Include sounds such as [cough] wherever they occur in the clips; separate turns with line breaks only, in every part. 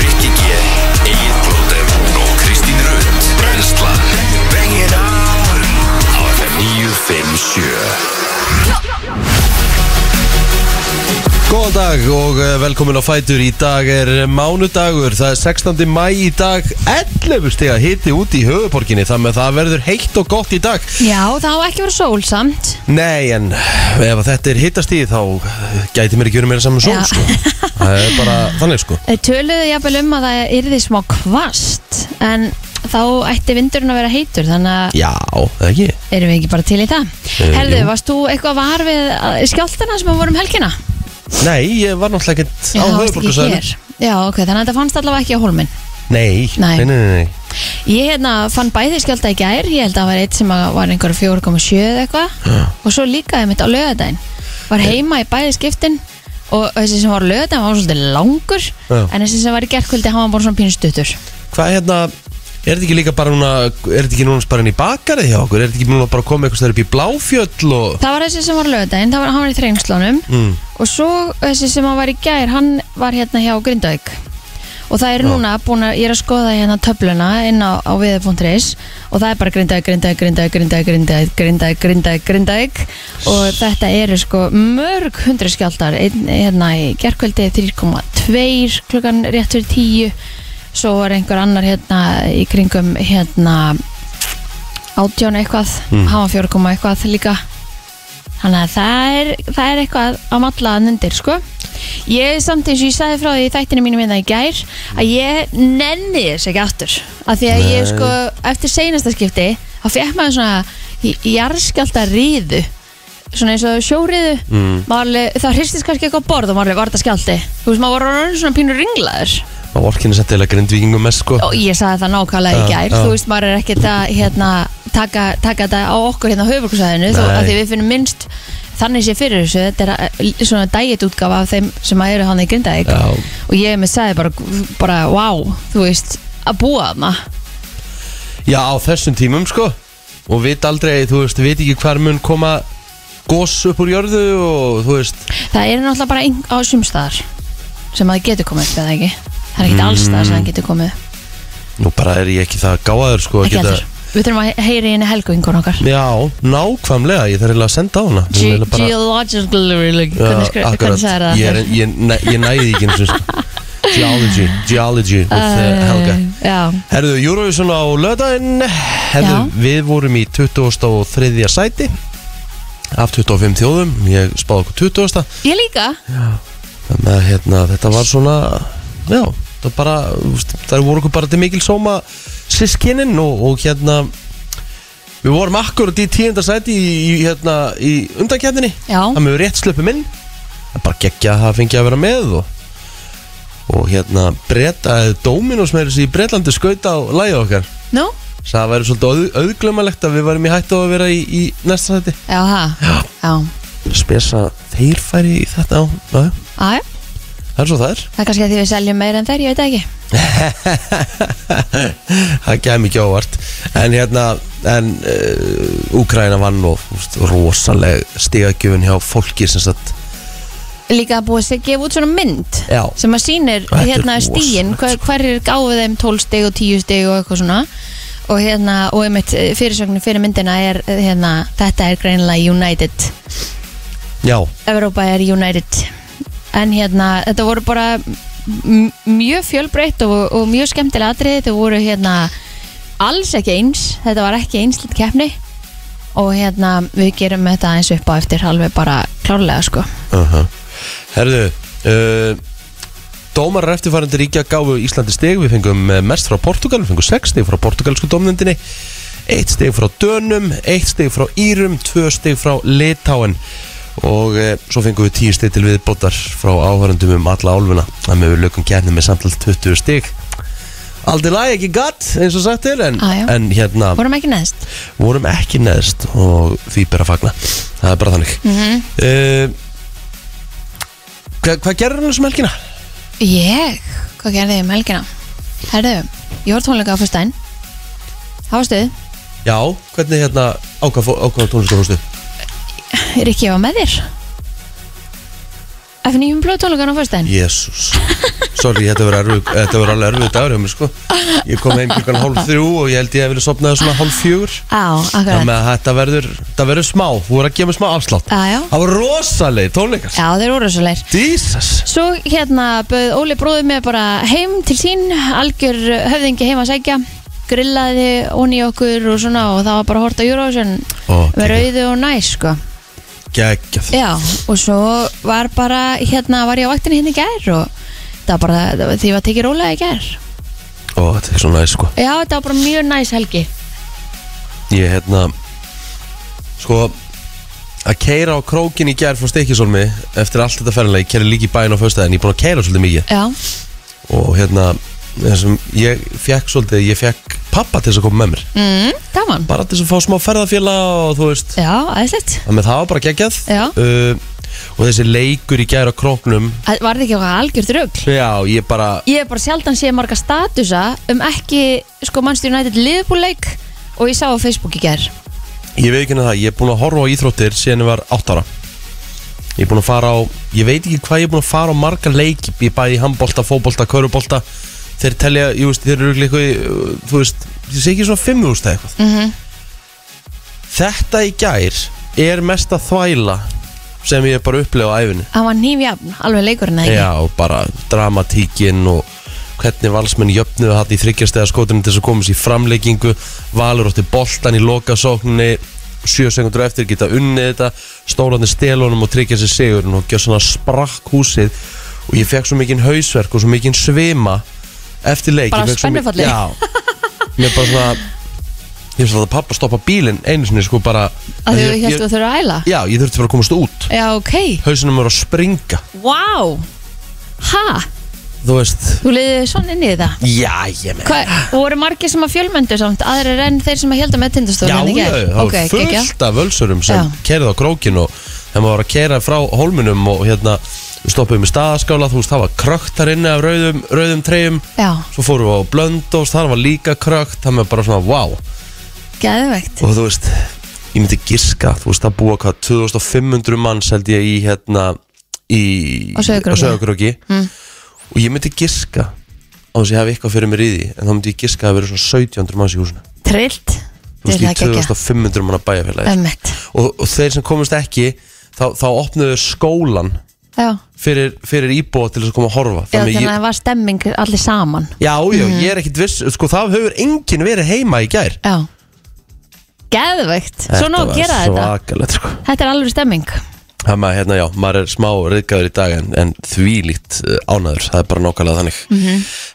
Rikki G, Egil Blóter og Kristín Rund Brenslan Bring it on Á FM 957
Góðan dag og eh, velkomin á Fætur Í dag er mánudagur, það er 16. mæ í dag 11 stiga hiti úti í höfuborginni Þannig að það verður heitt og gott í dag
Já, það á ekki verið sól samt
Nei, en ef að þetta er hittastíð þá gæti mér ekki verið meira saman sól
Já.
sko. Það er bara þannig sko
Þeir Töluðu jafnvel um að það yrði smá kvast En þá ætti vindurinn að vera heitur Þannig að
Já, eða ekki
erum við ekki bara til í það
Eh,
Herðu,
jú.
varst þú eitthvað var við eh, skjálftana sem að vorum helgina?
Nei, ég var náttúrulega ekkert á
það varst ekki
höfuborgarsæðinu
hér Já, ok, þannig að þetta fannst allavega ekki á hólminn
nei,
Nei.
nei, nei, nei, nei.
Ég hérna fann bæði skjálta í gær Ég held að það var eitt sem að var einhver 4,7 eða eitthvað
Ah.
Og svo líkaði mitt á lögadaginn
Eh.
Var heima í bæði skiptin Og þessi sem var á lögadaginn var svolítið
Já.
langur En þessi sem var í gerkvöldi, hann var bara svona pínstuttur
Hvað er hérna Er þetta ekki líka bara núna Er þetta ekki núna bara inn í bakarið hjá okkur Er þetta ekki núna bara komið eitthvað stær upp í bláfjöll og
Það var þessi sem var á lögadaginn, það var, hann var í þrengslunum
mm.
Og svo þessi sem hann var í gær, hann var hérna hjá Grindavík Og það er núna búin að, ég er að skoða hérna töfluna inn á, á viður.is og það er bara Grindavík, Grindavík, Grindavík, Grindavík, Grindavík, Grindavík, Grindavík, Grindavík og þetta eru sko mörg hundru skjaldar, einn hérna í gerkvöldi 3,2 klukkan rétt fyrir 10 svo var einhver annar hérna í kringum hérna átjón eitthvað, mm. hann var 4, eitthvað líka þannig að það er, það er eitthvað að matla nundir sko ég samt eins og ég sagði frá því í þættinu mínum minna í gær að ég nenni þess ekki aftur af því að ég
Nei.
sko eftir seinasta skipti þá fekk maður svona jarðskjálta ríðu svona eins og sjóriðu mm. alveg, það hristist kannski eitthvað á borð og maður alveg var þetta skjálti þú veist maður var orðinn svona pínur ringlaður
Á orkinu sett eða grindvíkingum mest sko
og ég sagði það nákvæmlega í
Já,
gær
já.
þú veist maður er ekkert að hérna, taka, taka þetta á okkur hérna á höfurkursæðinu þó
Nei.
að því við finnum minnst þannig sé fyrir þessu þetta er að- svona dægit útgafa af þeim sem að eru hann í Grindavík
Já.
og ég með sagði bara, bara wow, þú veist að búa þarna
Já, á þessum tímum sko Og vit aldrei, þú veist, vit ekki hvar mun koma Gós upp úr jörðu og þú veist
það er náttúrulega bara ein, á sumstaðar sem að það getur komið upp eða ekki það er ekkert mm. allstaðar sem það getur komið upp.
Nú bara er ég ekki það gáðaður sko að
ekki heldur, við þurfum að heyri henni helguingur okkar
Já, nákvæmlega, ég þarf eiginlega að senda á hana Hún
Ge
eiginlega bara-
Geological Hvernig
Já,
skri- hvernig sagði það
Ég, er- ég, næ- ég næði því ekki eins og sko. Geology, Geology with uh, Helga
Æ, Já,
Herðu, Eurovision á löðaðinn Herðu,
Já.
við vorum í 23. sæti Af 25 þjóðum Ég spáði okkur 20.
Ég líka
Þannig að hérna, þetta var svona Já, það var bara úst, Það voru okkur bara til mikil sóma Sískinin og, og hérna Við vorum akkurat í 10. sæti Í, í, hérna, í undankjæfninni
Já,
Það með rétt slöpum inn Það er bara geggja að það fengi að vera með og og hérna breyta, Dominos með þessi í Breitlandi skauta á lægið okkar
nú?
Svo það væri svolítið auð, auðglömmalegt að við værum í hættu á að vera í, í næsta sæti
Já, það
Já.
Já,
Spes að þeir færi í þetta á já, já,
Æ,
Það er svo það er
það er kannski að því við seljum meira en þær, ég veit það ekki
[laughs] Það gæmi ekki ávart En hérna En uh, Úkraina vann og úst, rosaleg stigagjöfun hjá fólki sem sagt
Líka að búið að gefa út svona mynd
Já.
sem að sýnir
Þetta er
hérna
rosalegt,
stíin hver, hverjir gáðu þeim 12 stig og 10 stig og eitthvað svona og hérna, og einmitt eh, fyrirsögnin fyrir myndina er eh, hérna, þetta er greinilega United
Já,
Evrópa er United en hérna, þetta voru bara m- mjög fjölbreytt og, og mjög skemmtilega atriði, þetta voru hérna alls ekki eins, þetta var ekki einslit keppni og hérna við gerum þetta eins upp á eftir alveg bara klárlega sko
uh -huh. Herðu uh, Dómarar eftirfærandi ríkja gáfu Íslandi stig Við fengum eh, mest frá Portugal Við fengum 6 stig frá portugalsku domnendinni Eitt stig frá Dönum Eitt stig frá Írum Tvö stig frá Litáen Og e, svo fengum við 10 stig til viðbótar Frá áhörendum um alla álfuna Þannig að við lögum kefni með samtalt 20 stig Aldrei lagi ekki gatt eins og sagt er En,
Á, já.
en hérna
vorum ekki neðst
vorum ekki neðst og því ber að fagna það er bara þannig mm
Mhm.
hvað, hvað gerir hann þessum helgina?
ég, hvað gerði ég um helgina herðu, ég var tónleika á fyrstæn það var stuð
Já, hvernig hérna ákvað, ákvað tónlistar fórstu?
er ekki ég var með þér F9 blóðtónleikan á föstudaginn
Jésús Sorry, þetta verður erfið- þetta verður alveg erfið dagur hjá mér sko Ég kom heim klukkan hálf þrjú og ég held ég að vilja sopnaði svona hálf fjögur
Á, akkurat
Þannig að þetta verður, þetta verður smá Þú verður að gefa mér smá afslátt
Já, já.
Það var rosaleg tónleikar
Já, þeir voru svo leir
Jesus
Svo hérna bauð Óli bróði mig bara heim til sín, algjör höfðingi heim að segja, grillaði honi okkur og svona og það var bara að horta Eurovision
Ó,
með
geggjað.
rauðu og næs sko.
Gægjað
Já, og svo var bara hérna, var ég á vaktinni hérna í gær og það var bara, það var- því var tekið rólega í gær.
Ó, þetta er svona næs sko
Já, þetta var bara mjög næs helgi.
Ég hérna Sko Að keira á krókin í gær frá Steikisólmi Eftir allt þetta ferðanlega, ég keiri líka í bæinn á föstudaginn Ég er búin að keira svolítið mikið
Já,
Og hérna, þessum, ég fekk svolítið Ég fekk pappa til þess að koma með mér
mm, gaman.
Bara til þess að fá smá ferðafélag og þú veist
Já, aðeinslegt.
Þannig að það var bara geggjað
Já.
uh, Og þessi leikur í gær á króknum
Var þetta ekki eitthvað algjört rugl?
Já, ég bara
Ég hef bara sjaldan séð marga statusa um ekki, sko, Manchester United liðbúleik og ég sá á Facebook í gær.
Ég veit ekki henni það, ég er búin að horfa á íþróttir síðan ég var 8 ára Ég er búin að fara á, ég veit ekki hvað ég er búin að fara á marga leik Ég er bæði í handbolta, fótbolta, körubolta Þeir telja, ég veist, þeir eru eitthvað, í, uh, þú veist, ég sé ekki svona 5.000 eða eitthvað
Mhm.
Þetta í gær er mesta þvæla sem ég er bara upplega á æfinu
Það var nýfjafn, alveg leikurinn eða ekki
Já, og bara dramatíkin og hvernig valsmenn jöfnuðu hatt í þryggjastega skotinu til þess að komast í framleikingu Valur átti boltan í lokasókninni sjö sekundur eftir geta unnið þetta stólanir stelunum og tryggja sér sigurinn og gjör svona sprakk húsið og ég fekk svo mikinn hausverk og svo mikinn svima eftir leik
Bara
Ég fékk svo mi-
spennufalli.
Já, mér bara svona ég finnst að pappa stoppa bílinn einu sinni sko bara
Að þú
ég- ég-
hérstu að þau eru að æla
Já, ég þurfti bara að komast út
Já, ok,
hausinum er að springa
wow Ha,
þú veist
þú leiði svona inn í þetta
Já, ég með
Hvað, voru margir sem að fjölmöndu samt aðrir enn þeir sem að helda með
Já,
tindastólinn í
já,
gær?
já, það
Ok,
var fullt
geggjað.
af völsurum sem
Já.
kerði á krókin og þegar maður var að kera frá hólmunum og hérna við stoppuðum í staðaskála, þú veist, það var krökt þar inni af rauðum, rauðum treyjum
Já,
svo fórum við á Blöndós, þar var líka krökt það með bara svona, wow
geðvegt
og þú veist, ég myndi giska þú veist, það búa hvað, 2500 manns held ég í hérna í,
Á Sauðárkróki.
Söðakróki mm. og ég myndi giska á þess að ég hafi eitthvað fyrir mér í því en þá myndi ég giska að það verið svona 1700 manns í húsinu
Trillt,
þú
til
veist,
það
í
gegja
2500 manna bæjarfélagi
Ömmett,
og, og þeir sem komist ekki þá, þá opnuðu skólan
já
fyrir, fyrir íbúa til þess að koma að horfa
Já, þannig að Mhm.
ég,
það var stemming allir saman
já, já, ég er ekkit viss sko það hefur enginn verið heima í gær
Já Geðvegt, svona á að gera þetta
svakalegt sko
Þetta er alveg stemming
það maður, hérna, já, maður er smá reyðgæður í dag en, en þvílíkt uh, ánæður það er bara nákvæmlega þannig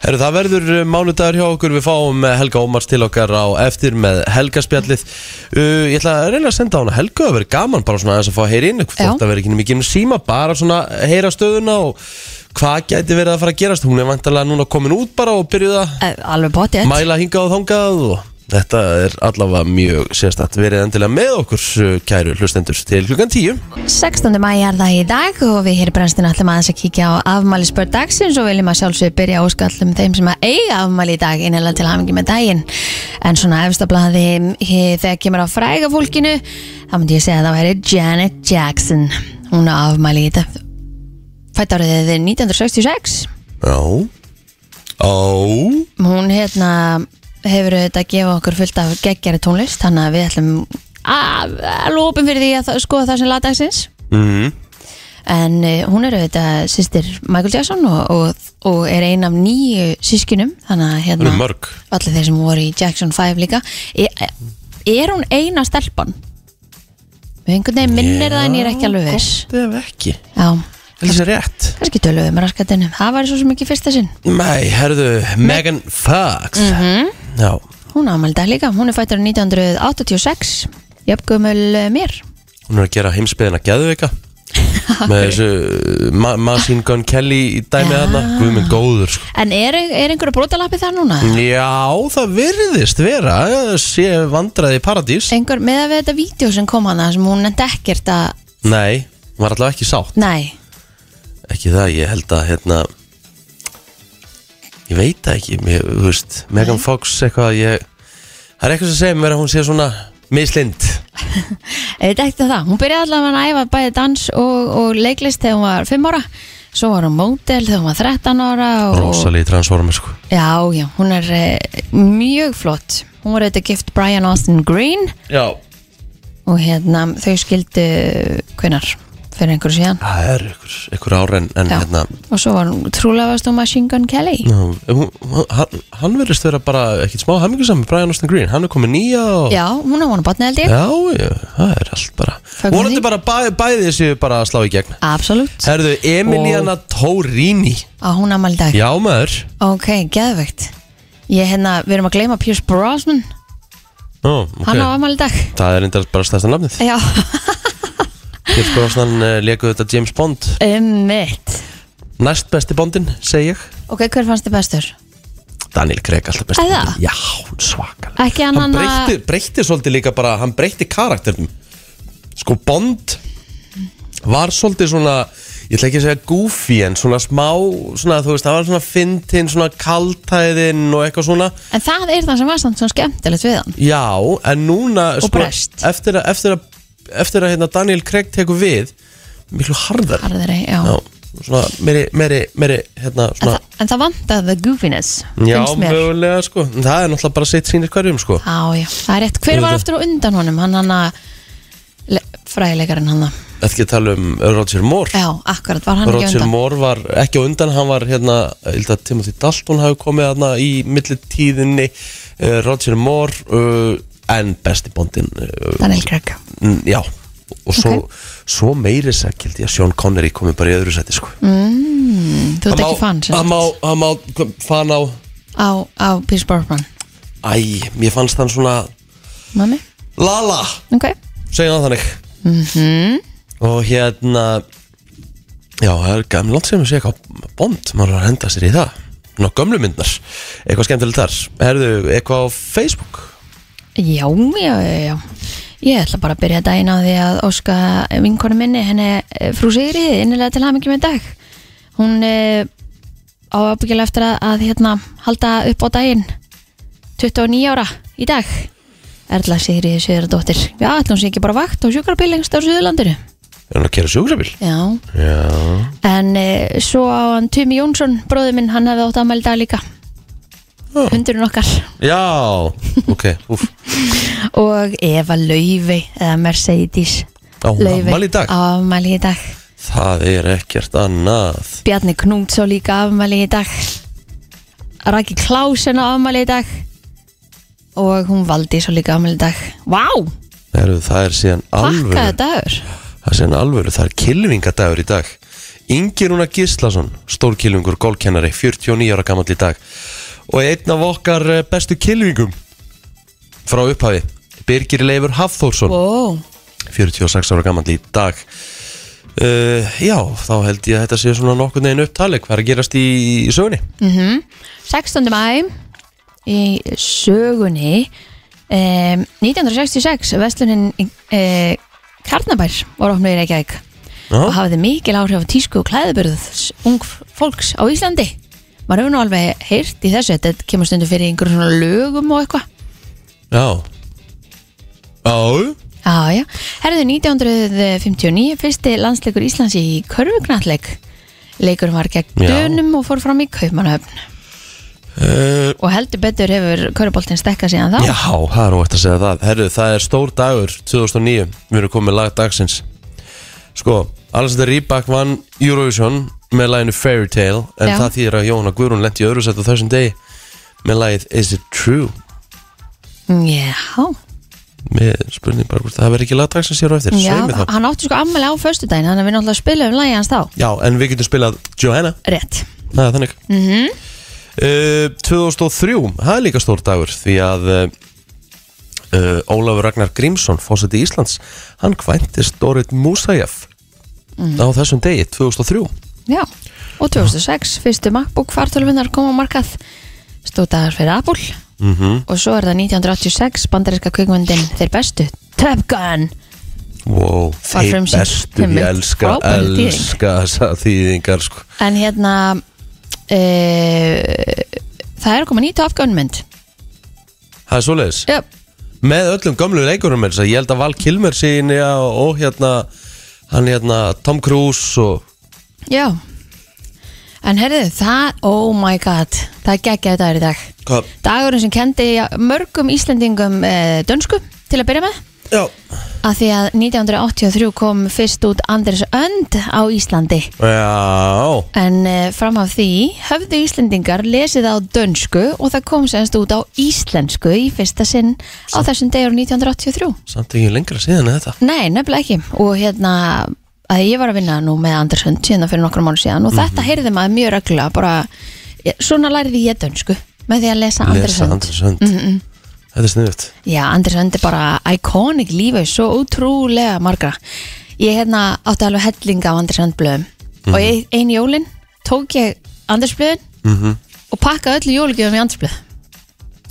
Herru, það verður uh, mánudagur hjá okkur við fáum uh, Helga Ómars til okkar á eftir með Helgaspjallið uh, ég ætla að reyna að senda á hana Helga, það verður gaman bara svona aðeins að fá að heyra inn
Já.
það verður ekki mikið um síma, bara svona heyra stöðuna og hvað gæti verið að fara að gerast hún er vantarlega núna komin út bara og byrjuð að
Eh, Alveg potið
mæla hingað og þangað og þetta er allavega mjög sérstætt verið endilega með okkur uh, kæru hlustendur til klukkan 10
16. mæi er það í dag og við hér í brennstinu ætlum aðeins að kíkja á afmæli spörð dagsins og viljum að sjálfsögur byrja á skallum þeim sem að eiga afmæli í dag innlega til hafingi með daginn en svona efstablaði þegar kemur á fræga fólkinu þá myndi ég segja að það væri Janet Jackson hún á afmæli í dag fætt áriðið 1966
Já Ó
hún hérna hefur auðvitað að gefa okkur fullt af geggjari tónlist þannig að við ætlum að að lópum fyrir því að það- skoða það sem lagdagsins
mm.
en uh, hún er auðvitað sýstir Michael Jackson og, og, og er ein af nýju sískinum þannig að
Það eru
hérna,
mörg
allir þeir sem voru í Jackson 5 líka er, er hún eina stelpan? Við einhvern veginn minnir það en ég er ekki alveg viss
Það er ekki
Já,
Það er rétt
kannski tölum við með raskatinu það var svo sem ekki fyrsta sinn
Nei, herðu Megan Fox
Mhm.
Já
hún ámaldi það líka, hún er fættur 1986 jöfngumul eh, mér
Hún er að gera heimsbyðina
[laughs]
geðveika Með þessu ma Machine Gun Kelly í dæmi
Já.
þarna Guðmund góður sko
en er, er einhverju brotalappi þar núna?
Já, það virðist vera eh, sé vandraði í paradís
einhver, með að við þetta vídeo sem kom hana sem hún nefndi ekkert að,
Nei, hún var allavega ekki sátt
nei
Ekki það, ég held að hérna Ég veit það ekki, mér, þú veist Megan Fox eitthvað ég Það er eitthvað sem segir mér að hún sé svona mislind
Þetta ekkert um það, hún byrjaði allavega að æfa bæði dans og, og leiklist þegar hún var 5 ára Svo var hún mótel þegar hún var 13 ára og,
Rosalí transformer sko
Já, já, hún er eh, mjög flott Hún var auðvitað gift Brian Austin Green
Já
Og hérna, þau skildu hvenar fyrir einhverju síðan
Það er ykkur, ykkur ár en, en
Já.
hérna
Og svo var hún trúlega varst hún Machine Gun Kelly
nú, hún- hún- Hann, hann verðist vera bara ekkert smá hamingjusam með Brian Austin Green Hann er komið nýja og
Já, hún er hún að botna held ég
Já, já, það er allt bara
Fögnum
Vonandi
því.
bara bæ, bæði séu bara að slá í gegn
Absolutt,
Herðu, Emiliana Tórini
að hún amal dag
Já maður
Ok, geðveikt Ég hérna, við erum að gleyma Pierce Brosnan
Ó,
Hann
okay.
á amal dag
Það er enda bara stærsta nafnið
Já,
Pierce Brosnan uh, lekuð þetta James Bond
um ummitt
Næst besti Bondin, segi ég
Ok, hver fannst þið bestur?
Daniel Craig alltaf besti
Er það?
Bondin Já, hún svakal
Ekki hann
Hann
hann
breytti, breytti svolítið líka bara Hann breytti karakternum Sko Bond Var svolítið svona Ég ætla ekki að segja goofy en svona smá svona, Þú veist, það var svona fyndin, svona kaltæðin Og eitthvað svona
En það er það sem var samt svona skemmtilegt við hann
Já, en núna sko,
Og brest.
Eftir að, eftir að, eftir að hérna, Daniel Craig tekur við Miklu harðar
Harðari, já,
Já, svona meiri, meiri, meiri hérna,
En,
svona,
það, en það vantaði the goofiness
Já,
finnst mér.
mögulega sko En Það er náttúrulega bara sitt sínir hverjum sko
Já, já, það er rétt Hver var
Auðvitað.
aftur á undan honum? Hann hann að le- fræðileikarinn hann að
Þetta ekki að tala um Roger Moore
Já, akkurat, var hann ekki á
Roger
undan
Moore var ekki á undan Hann var hérna, ég held að Timothy Dalton hafi komið hérna í millitíðinni uh, Roger Moore uh, En besti bóndin uh,
Daniel Craig
n- Já Og svo, svo meiri sækild ég að Sean Connery komið bara í öðru sæti sko
Þú ert
Hann
ekki
má-
fann
hann má, hann má, fann á
á, á Pierce Brosnan
Æ, mér fannst hann svona
Mami,
Lala,
ok Mhm.
segja hann þannig og hérna já, það er gamla langt sem að sé eitthvað bond, maður er að henda sér í það ná gömlu myndar, eitthvað skemmtilegt þar herðu, eitthvað á Facebook
Já, já, já, já. Ég ætla bara að byrja daginn á því að óska vinkonu minni, henni eh, frú Sigriði, innilega til hamingi með dag. Hún eh, á ábyggilega eftir að, að hérna, halda upp á daginn 29 ára í dag. Erla Sigriði Sigurðardóttir. Já, ætla hún sé ekki bara vakt á sjúkrabíl lengst á Suðurlandinu.
er hann að kera sjúkrabíl?
Já.
já,
En eh, svo á hann Tumi Jónsson, bróði minn, hann hefði átt afmæli í dag líka.
Já.
Hundurinn okkar.
já, ok úf,
Og Eva Laufey, eða Mercedes.
á
Laufey.
ammali í dag,
Afmæli í dag
það er ekkert annað
Bjarni Knúntsó líka afmæli í dag Raki Klásen á afmæli í dag Og hún valdi svo líka afmæli í dag Vá,
herðu, það er síðan
pakkaði
alvöru
dagur
það er síðan alvöru, það er kilvingadagur í dag Ingirúna Gíslason, stórkilvingur gólkennari, 49 ára gamall í dag og einn af okkar eh, bestu kilvingum frá upphafi, Birgir Leifur Hafþórsson
Vó,
46 ára gamall í dag uh, Já, þá held ég að þetta sé svona nokkurn veginn upptali hvað er að gerast í, í sögunni
16. mæ í sögunni um, 1966 Vestlunin um, Karnabær var opnuð í Reykjavík og
Já,
hafiði mikil áhrif á tísku og klæðuburðs ung fólks á Íslandi maður hefur nú alveg heyrt í þessu þetta kemur stundu fyrir einhverjum svona lögum og eitthvað
já Já,
Já, já. Herðu 1959, fyrsti landsleikur Íslands í körfugnatleik. Leikur var gegn
Já.
dönum og fór fram í Kaupmannhöfn.
uh,
Og heldur betur hefur körfuboltinn stekkað síðan þá.
já það er óvægt að segja það Herru, það er stór dagur 2009 Við erum komið með lag dagsins Sko, Alexander Rybak vann Eurovision með laginu Fairy Tale en
Já.
það þýðir að Jóhanna Guðrún lendi í öðru sætt á þessum degi með lagið Is It True
Já,
Mér spurning bara hvort það verður ekki lag dagsins hér á eftir
já
Svei mér þá.
hann átti sko ammali á föstudaginn, þannig að við náttúrulega spilum lagi hans þá.
Já, en við getum spilað Johanna
Rétt.
Það er þannig Eh, mm 2003, það er líka stór dagur Því að uh, Ólafur Ragnar Grímsson, fósiti Íslands Hann kvæntist Dorit Musajef Á þessum degi, 2003
Já. Og 2006, fyrstu MacBook fartölvinnar kom á markað. Stótaðar fyrir Apple.
mm -hmm.
Og svo er það 1986, bandaríska kvikmyndin þeir bestu. Top Gun.
Wow, þeir
frumsýnd.
bestu, ég
Einmitt,
elska,
frábær þýðing.
elska þessa þýðingar sko.
En hérna e, Það er að koma nýtt af afgönnmynd
Það er svoleiðis
Jöp,
með öllum gömlu leikurum er, ég held að Val Kilmer sín já, og hérna hann hérna Tom Cruise og
Já En herðu, það, oh my god Það er geggjaði dagur í dag
hvað,
Dagurinn sem kendi mörgum Íslendingum eh, dönsku til að byrja með
já,
að því að 1983 kom fyrst út Anders Önd á Íslandi
já
en eh, fram af því höfðu Íslendingar lesið á dönsku og það kom semst út á íslensku í fyrsta sinn á þessum degur 1983
samt ekki lengra síðan en þetta
Nei, nefnilega ekki og hérna að ég var að vinna nú með Anders Önd síðan fyrir nokkrum mánu síðan og þetta heyrði maður mjög reglulega bara, eh, svona lærði ég dönsku með því að lesa Anders
lesa
Önd
Andrés Hönd þetta er sniðut
Já, Andrés Önd er bara iconic lífið, svo útrúlega margra. Ég hérna átti alveg hellinga á Andrés Önd blöðum og ein, ein jólin tók ég Andrés blöðin
Mhm.
og pakkaði öllu jólugjöfum í Andrés blöð.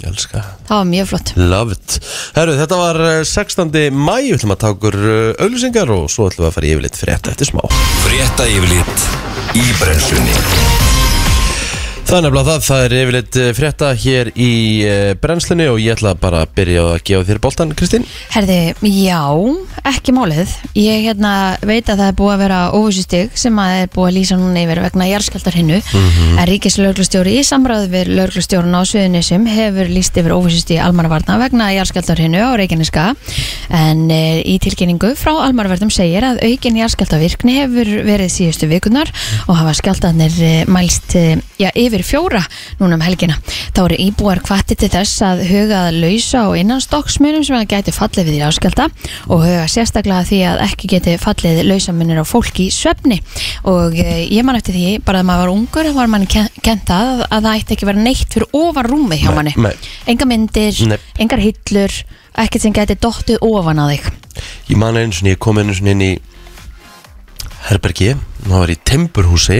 ég elska það
Það var mjög flott.
Love it. Herru, þetta var eh, 16. mæ, við ætlum að taka okkur eh, auglýsingar og svo ætlum við að fara yfirleitt frétta eftir smá.
Frétta yfirlit í brennslunni
Það er nefnilega það, það er yfirleitt eh, frétta hér í eh, brennslunni og ég ætla bara að byrja að gefa þér boltan, Kristín.
Herði, já, ekki málið. Ég hérna veit að það er búið að vera óvísustig sem að er búið að lýsa núna yfir vegna jarðskjaldar hinnu. En ríkislauglustjóri í samræðu við lauglustjórun á Suðunisum hefur lýst yfir óvísustig almannavarna vegna jarðskjaldar hinnu á Reykjaneska. En e, í tilkynningu frá almannavarnum segir að aukin jarðskjaldavirkni hefur verið síðustu vikunar og hafa skjaldarnir eh, mælst eh, já, yfir fjóra núna um helgina. Þá eru íbúar kvatti til þess að huga að lausa og innan stokksmunum sem að gæti fallið við í áskjálta og huga sérstaklega að því að ekki geti fallið lausamunir á fólk í svefni og eh, ég man eftir því bara að maður var ungur var mann kent það að, að það ætti ekki að vera neitt fyrir ofan rúmi hjá
Nei,
manni.
nei.
Enga myndir,
Nei.
engar hillur, ekkert sem gæti dottið ofan að þig.
Ég man einu sinni, ég kom einu sinni inn í herbergi, það var í Timburhúsi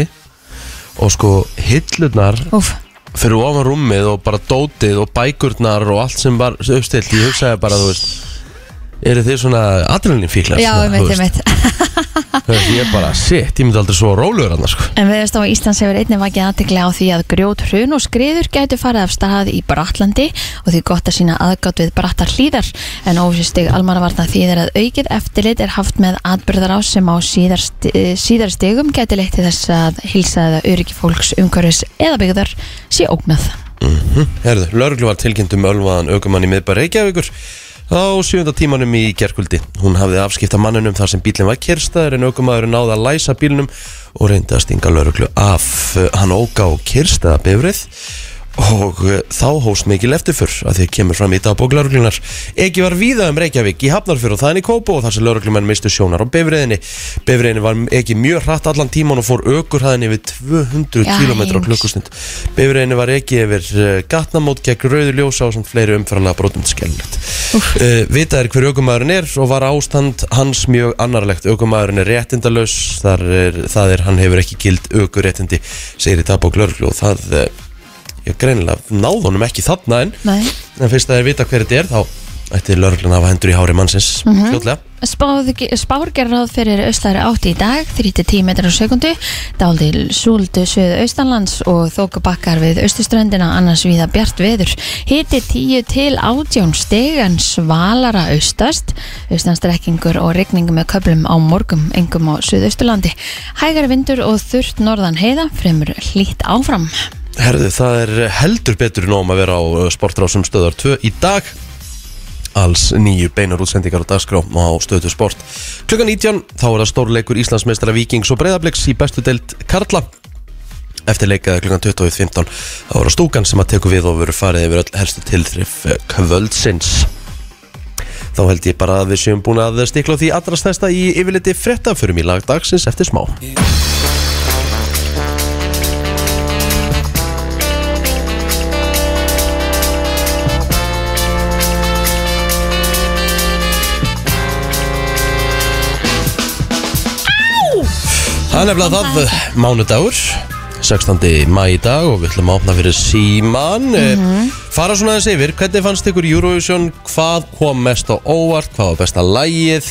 og sko hillurnar
Úf,
fyrir ofan rúmið og bara dótið og bækurnar og allt sem var uppstilt ég hugsaði bara, þú veist eru þið svona adrenalin fíklar
já, ég veit, ég veit.
veit ég bara, shit, ég myndi aldrei svo rólegur annars sko.
En viðstofa Íslands hefur einnig vakið aðtekli á því að grjót hrun og skriður gætu farið af stað í Bratlandi og því gott að sína aðgátt við brattar hlýðar en ósýstig almannavarna þýðir að aukið eftirlit er haft með atbyrðar á sem á síðarst, síðarstigum gæti leitt til þess að hilsa eða öryggi fólks umhverfis eða byggðar sé ógnað.
Herðu, lauruglu var tilkynnt um ölvaðan aukumann í miðbæ Reykjavíkur á sjönda tímanum í gerkvöldi. Hún hafði afskipta manninum þar sem bílinn var kyrstaður en aukumæðurinn náði að læsa bílinum og reyndi að stinga lauruglu af. Uh, Hann óka á kyrstaða bifrið og uh, þá hóst mikil eftirför að því kemur fram í dagbók lauruglunar. Ekki var víða um Reykjavík í Hafnarfjörð og þannig Kópó og þar sem lauruglumenn mistu sjónar á bifriðinni. Bifriðinni var ekki mjög hratt allan tíman og fór aukurhæðin yfir 200
Já,
km á
heimur.
klukkustund klukkustund. Bifræðinu var ekki yfir uh, gatnamót gegn rauðu ljósa og samt fleiri umframlega brotum skellilegt. Uh, vitað er hver aukumæðurinn er og var ástand hans mjög annarlegt. Aukumæðurinn er réttindalaus, þar er, það er, hann hefur ekki gild aukuréttindi, segir í dagbók lörglu og það, uh, ég greinilega náð honum ekki þarna en,
Nei.
en fyrst að þeir vita hver þetta er þá ætti lörglun að hafa hendur í hári mannsins mm fljótlega.
Spáð, spár gerir ráð fyrir austlæri átti í dag, 3-10 metrar á sekundu, dáldi súldu söðu austanlands og þókabakkar við austuströndina annars viða bjart veður. Hiti 10 til 18 stig en svalara austast, austanstrekkingur og rigning með köplum á morgum, engum á söðausturlandi. Hægari vindur og þurft norðan heiða, fremur hlýtt áfram.
Herðu, það er heldur betur nóm að vera á uh, sportrásum stöðar 2 í dag alls nýju beinar útsendingar á dagskrá á stöðu sport klukkan 19 þá er það stórleikur Íslandsmeistara Víkings og Breiðabliks í bestu deild Karla eftir leikaði klukkan 20.15 þá er það stúkan sem að teku við og veru farið yfir öll helstu tilþrif uh, kvöldsins þá held ég bara að við séum búin að stikla á því allra stærsta í yfirliti frétta förum í lag dagsins eftir smá Það er nefnilega það, mánudagur 16. mæ í dag og við ætlum að opna fyrir síman mm
Mhm.
fara svona aðeins yfir, hvernig fannst ykkur Eurovision, hvað kom mest á óvart hvað var besta lægið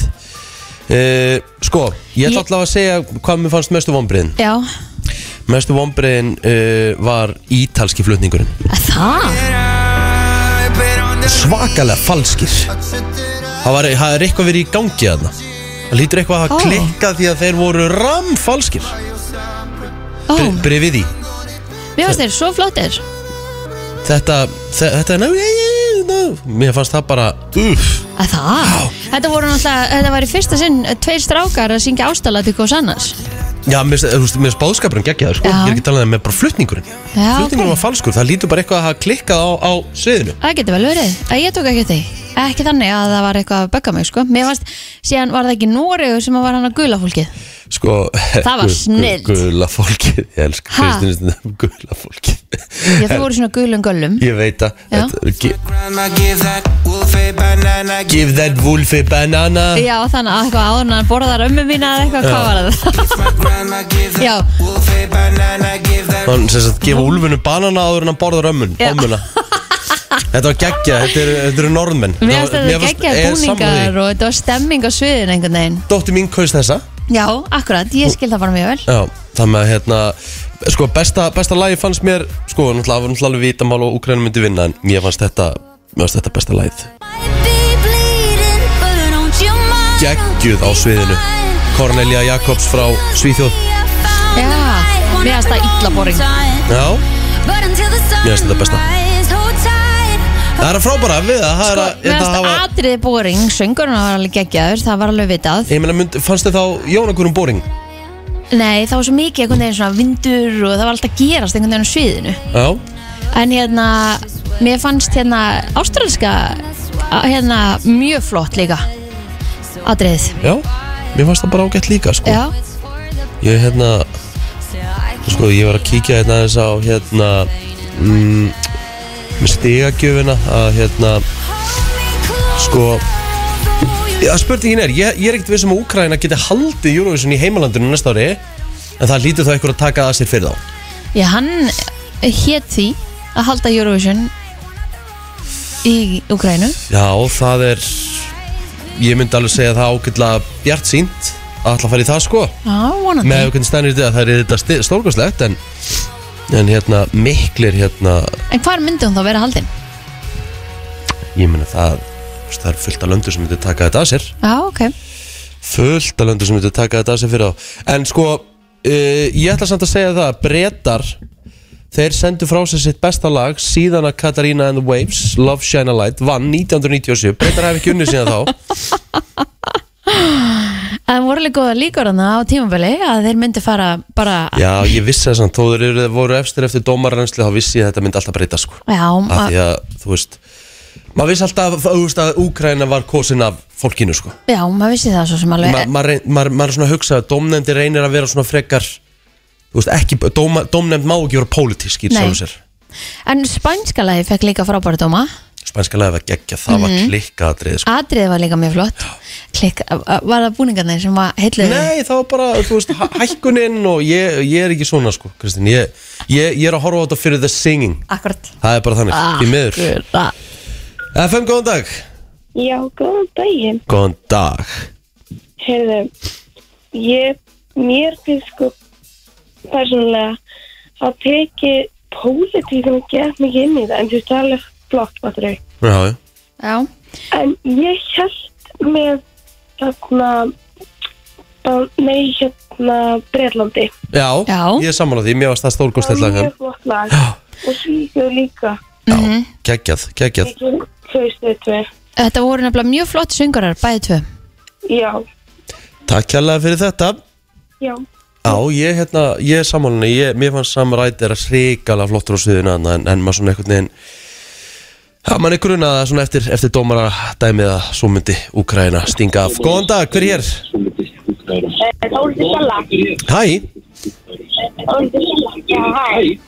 e, sko ég ætla
Ég-
alltaf að segja hvað mér fannst mestu vonbriðin
Já,
mestu eh, vonbriðin e, var ítalski flutningurinn
það?
I've been on
svakalega falskir Það var, það er eitthvað verið í gangi þarna Það lítur eitthvað að
Ó.
oh. klikka því að þeir voru ramfalskir
Ó,
Bri- Brevið í
mér finnst þeir svo flottir
Þetta, þe- þetta er ná, já, já, já, ná Mér fannst það bara, uff
Að það? Þetta voru náttúrulega, þetta var í fyrsta sinn eh, tveir strákar að syngja ástala til góðs annars
Já, mér finnst- þú veist, mér finnst báðskapurinn geggjaður sko
Já.
Ég er ekki talað um með bara flutningurinn
Já,
Flutningurinn
ok.
var falskur, það lítur bara eitthvað að hafa klikkað á, á sviðinu
Það getur vel verið, að ég tók ekki eftir því Ekki þannig að það var eitthvað að bögga mig sko Mér fannst, síðan var það ekki Noregur sem að var hann að gula fólkið
Sko,
Það var
gu- gu-
snilld.
Gula fólkið, ég elsk
Ha?
Kristín Stundum, gula fólkið [laughs]
Já, þú voru svona gulum göllum
Ég veit að
Já.
þetta- gi-
Grandma give that wolf a banana. Give
Give that wolf a banana
Já, þannig að eitthvað áður en hann borðar ömmu mína eða eitthvað, hvað var það?
my grandma give that
Já.
wolf a banana. Give that.
Hann sem sagt, gefa úlfinu banana áður en hann borðar ömmun
Já.
Ömmuna Þetta var geggja, þetta eru- þetta eru norðmenn
Mér fannst þetta geggjaði
er sammála því.
búningar og þetta var stemming á sviðin einhvern veginn
Dóttir mín kaust þessa
Já, akkurat, ég skil það bara mjög vel
Já, það með hérna Sko, besta, besta lagi fannst mér Sko, náttúrulega, það var náttúrulega alveg vitamál og Ukraina myndi vinna En mér fannst þetta, mér fannst þetta besta lagið Geggjuð á sviðinu Cornelia Jakobs frá Svíþjóð
Já, mér finnst það illa boring.
Já,
Mér
finnst þetta besta. það er að frábara við það Það er
Sko,
að,
mér
þetta
fannst
hafa
atriðið boring, söngurinn var alveg geggjaður, það var alveg vitað
Ég meina, mynd, fannst þið þá Jónakurum Boring?
Nei, það var svo mikið einhvern veginn svona vindur og það var alltaf að gerast einhvern veginn á sviðinu
Já,
En hérna, mér fannst hérna ástralska a- hérna mjög flott líka atriðið
já Mér fannst það bara ágætt líka, sko
Já,
Ég, hérna, sko, ég var að kíkja hérna þess á, hérna mm, Með stigagjöfina að, hérna, sko Já, spurningin er, ég, ég er ekkert við sem að Úkraina geti haldið Eurovision í heimalandinu næsta ári en það lítur þá einhver að taka að sér fyrir þá
já hann hét því að halda Eurovision í Ukrænu
Já, það er ég myndi alveg segja það ágætlega bjart sínt að ætla að fara í það sko
Já,
með
vonandi
auðvitað stænir þetta að það er þetta stórkvæslegt en, en hérna miklir hérna,
En hvar myndi hún þá vera haldin?
ég myndi það þú veist, það er fullt af löndu sem myndi taka þetta að sér
Já, ok
fullt af löndur sem myndi taka þetta að sig fyrir þá en sko, uh, ég ætla samt að segja það að breytar þeir sendu frá sér sitt besta lag síðan að Katarina and the Waves Love Shine a Light vann 1997 breytar hafi ekki unnið síðan þá
En það voru alveg góða líkur hana á tímabili að þeir myndi fara bara
já, ég vissi það samt, þó þeir eru- voru efstir eftir dómarrensli þá vissi ég að þetta myndi alltaf breyta sko
Já,
af
ma-
því að, þú veist maður vissi alltaf þú veist, að Úkraina var kosin af fólkinu sko
já, maður vissi það svo sem alveg
Ma- maður reyn- maður maður er svona að hugsa að dómnefndi reynir að vera svona frekar þú veist, ekki, dóma, dómnefnd má ekki vera pólitísk í
Nei.
sjálfum sér
En spænska lagi fekk líka frábæra dóma
Spænska lagi var geggja, það var
Mhm.
klikkaðatrið sko.
Atriðið var líka mjög flott Klikk, var það búningarnir sem var heilluð
Nei, það var bara, þú veist, hæ- hækkunin og ég, ég er ekki svona, sko, Kristín ég, ég, ég er að horfa á þetta fyrir the singing
Akkurat
Það er bara þannig,
Ah,
í miður
Akkurat.
FM, góðan dag
Já, góðan daginn.
Góðan dag
Heyrðu, ég, mér finnst sko persónulega að teki pólitíkuna gett mikið inn í það, en þú veist það er alveg flott maður þau.
Já, já,
Já,
En ég held með þarna, Ban- nei, hérna Breitlandi.
já,
Já.
ég er sammála því, mér varst það
Það
stórkostlega
var mjög flott lag.
Já.
Og Svíþjóð líka.
Mhm.
Geggjað, geggjað
Ekki hlaustu tvö.
þetta voru nefnilega mjög flott söngurar, bæði tvö [laughs]
Já,
Takk hérlega fyrir þetta
já.
Já, ég, hérna, ég er sammálinni, ég, mér fannst Sam Wright er að hrikala flottur á sviðinu en, en, en maður svona einhvern veginn Já, maður er grunað að svona eftir, eftir dómara dæmið að svo myndi Úkraina stinga af Góðan dag, hver er hér?
Þóldi Sala.
Hæ,
Þóldi Sala. Já, hæ.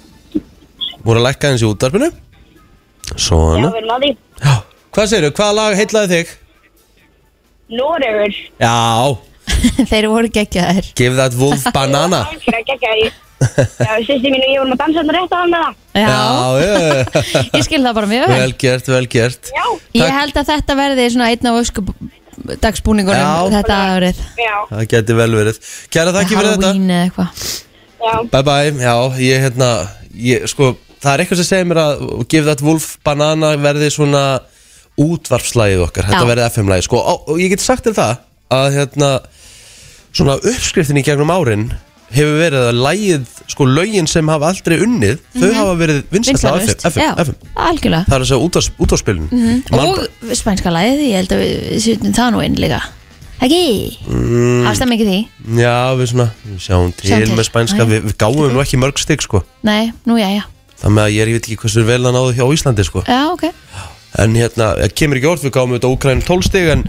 voru að lækka eins í útdarpinu Svona
erum að því.
Já, hvað segirðu, hvaða lag heitlaði þig?
Noregur.
Já,
Þeir voru geggjaðir
give that wolf banana
Það er ekki ekki Já, sýsti mín og ég vorum að dansa hann rétt á hann með það
Já,
já, já.
ég skil það bara mjög vel
vel gert, vel gert
Já,
Ég
takk.
held að þetta verði svona einn af ösku dagsbúningunum
Já.
þetta árið
já,
Það geti vel verið Kæra, þakki fyrir þetta
Halloween eða eitthvað
já
Bye bye, já, ég hérna ég, sko, það er eitthvað sem segir mér að Give That Wolf Banana verði svona útvarpslægið okkar Þetta
Já.
verði FM-lægið sko og, og ég get sagt til það að hérna svona uppskriftin í gegnum árin hefur verið að lægið sko lögin sem hafa aldrei unnið þau hafa verið vinsætla á
Mhm. Vinsælust.
FM,
Já,
FM.
algjörlega
Það er að segja útvars, útvarspilun mm
Og spænska lagið, ég held að við sýttum það nú inn líka Ekki? Mm. Afstæm ekki því?
Já, við svona við sjáum til,
Sjáum til.
með spænska
Já, já.
við, við gáum nú ekki mörg stygg sko
Nei, nú jæja
Það með að ég, er- ég veit ekki hversu vel það náðu hjá Íslandi sko
Já, ok
En hérna, það kemur ekki orð, við gáum auðvitað Úkrænum 12 stig En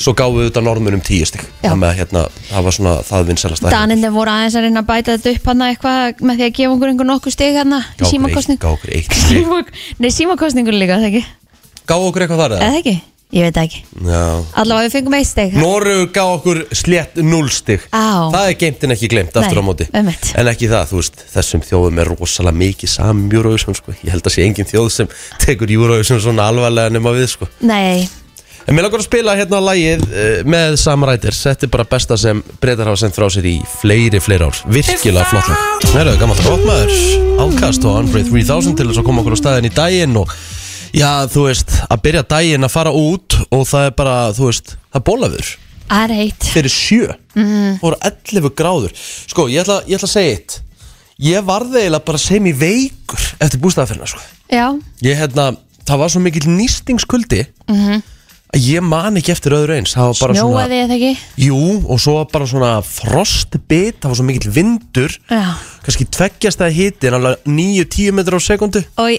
svo gáum við auðvitað Norðmunum 10 stig
Já.
Það með að hérna, það var svona það vinsælasta
Danindin voru aðeins að reyna að bæta þetta upp hana eitthvað með því að gefa okkur einhver nokkuð stig hana
Gá
í
okkur eitt-
símakostningu
gá okkur
[laughs]
eitt stig.
Símak- Nei, símakostningur líka, það ekki
Gá hérna. okkur eitthvað þar eða?
Eða ekki? Ég veit það ekki
Já
Allavega við fengum eitt stig
Norrögu gá okkur slétt 0 stig
Á.
Það er geimt en ekki glemt aftur á
Nei,
móti
einmitt.
En ekki það, þú veist, þessum þjóðum er rosalega mikið samjúröðu sko. Ég held að sé engin þjóð sem tekur júröðu svona alvarlega nema við sko.
Nei,
En mér langar að spila hérna lagið eh, með Sam Riders Þetta er bara besta sem breytar hafa sendt frá sér í fleiri, fleiri ár Virkilega flott lag Herðu, gammal grótmaður Ákast og Andre 3000 til þess að koma okkur á staðin í daginn og já, þú veist, að byrja daginn að fara út og það er bara, þú veist, það er bólafur
það er heitt
fyrir sjö mm. og 11 gráður Sko, ég ætla, ég ætla að segja eitt Ég varði eiginlega bara sem í veikur eftir bústæðaferna, sko
Já,
Ég hérna, það var svo mikill nýstingskuldi að ég man ekki eftir öðru eins Það var bara
Mhm. snjóaði eða ekki
svona Jú, og svo var bara svona frostbit það var svo mikill vindur
Já.
kannski tveggjast að hiti en alveg 9-10 metrar á sekundu
Og,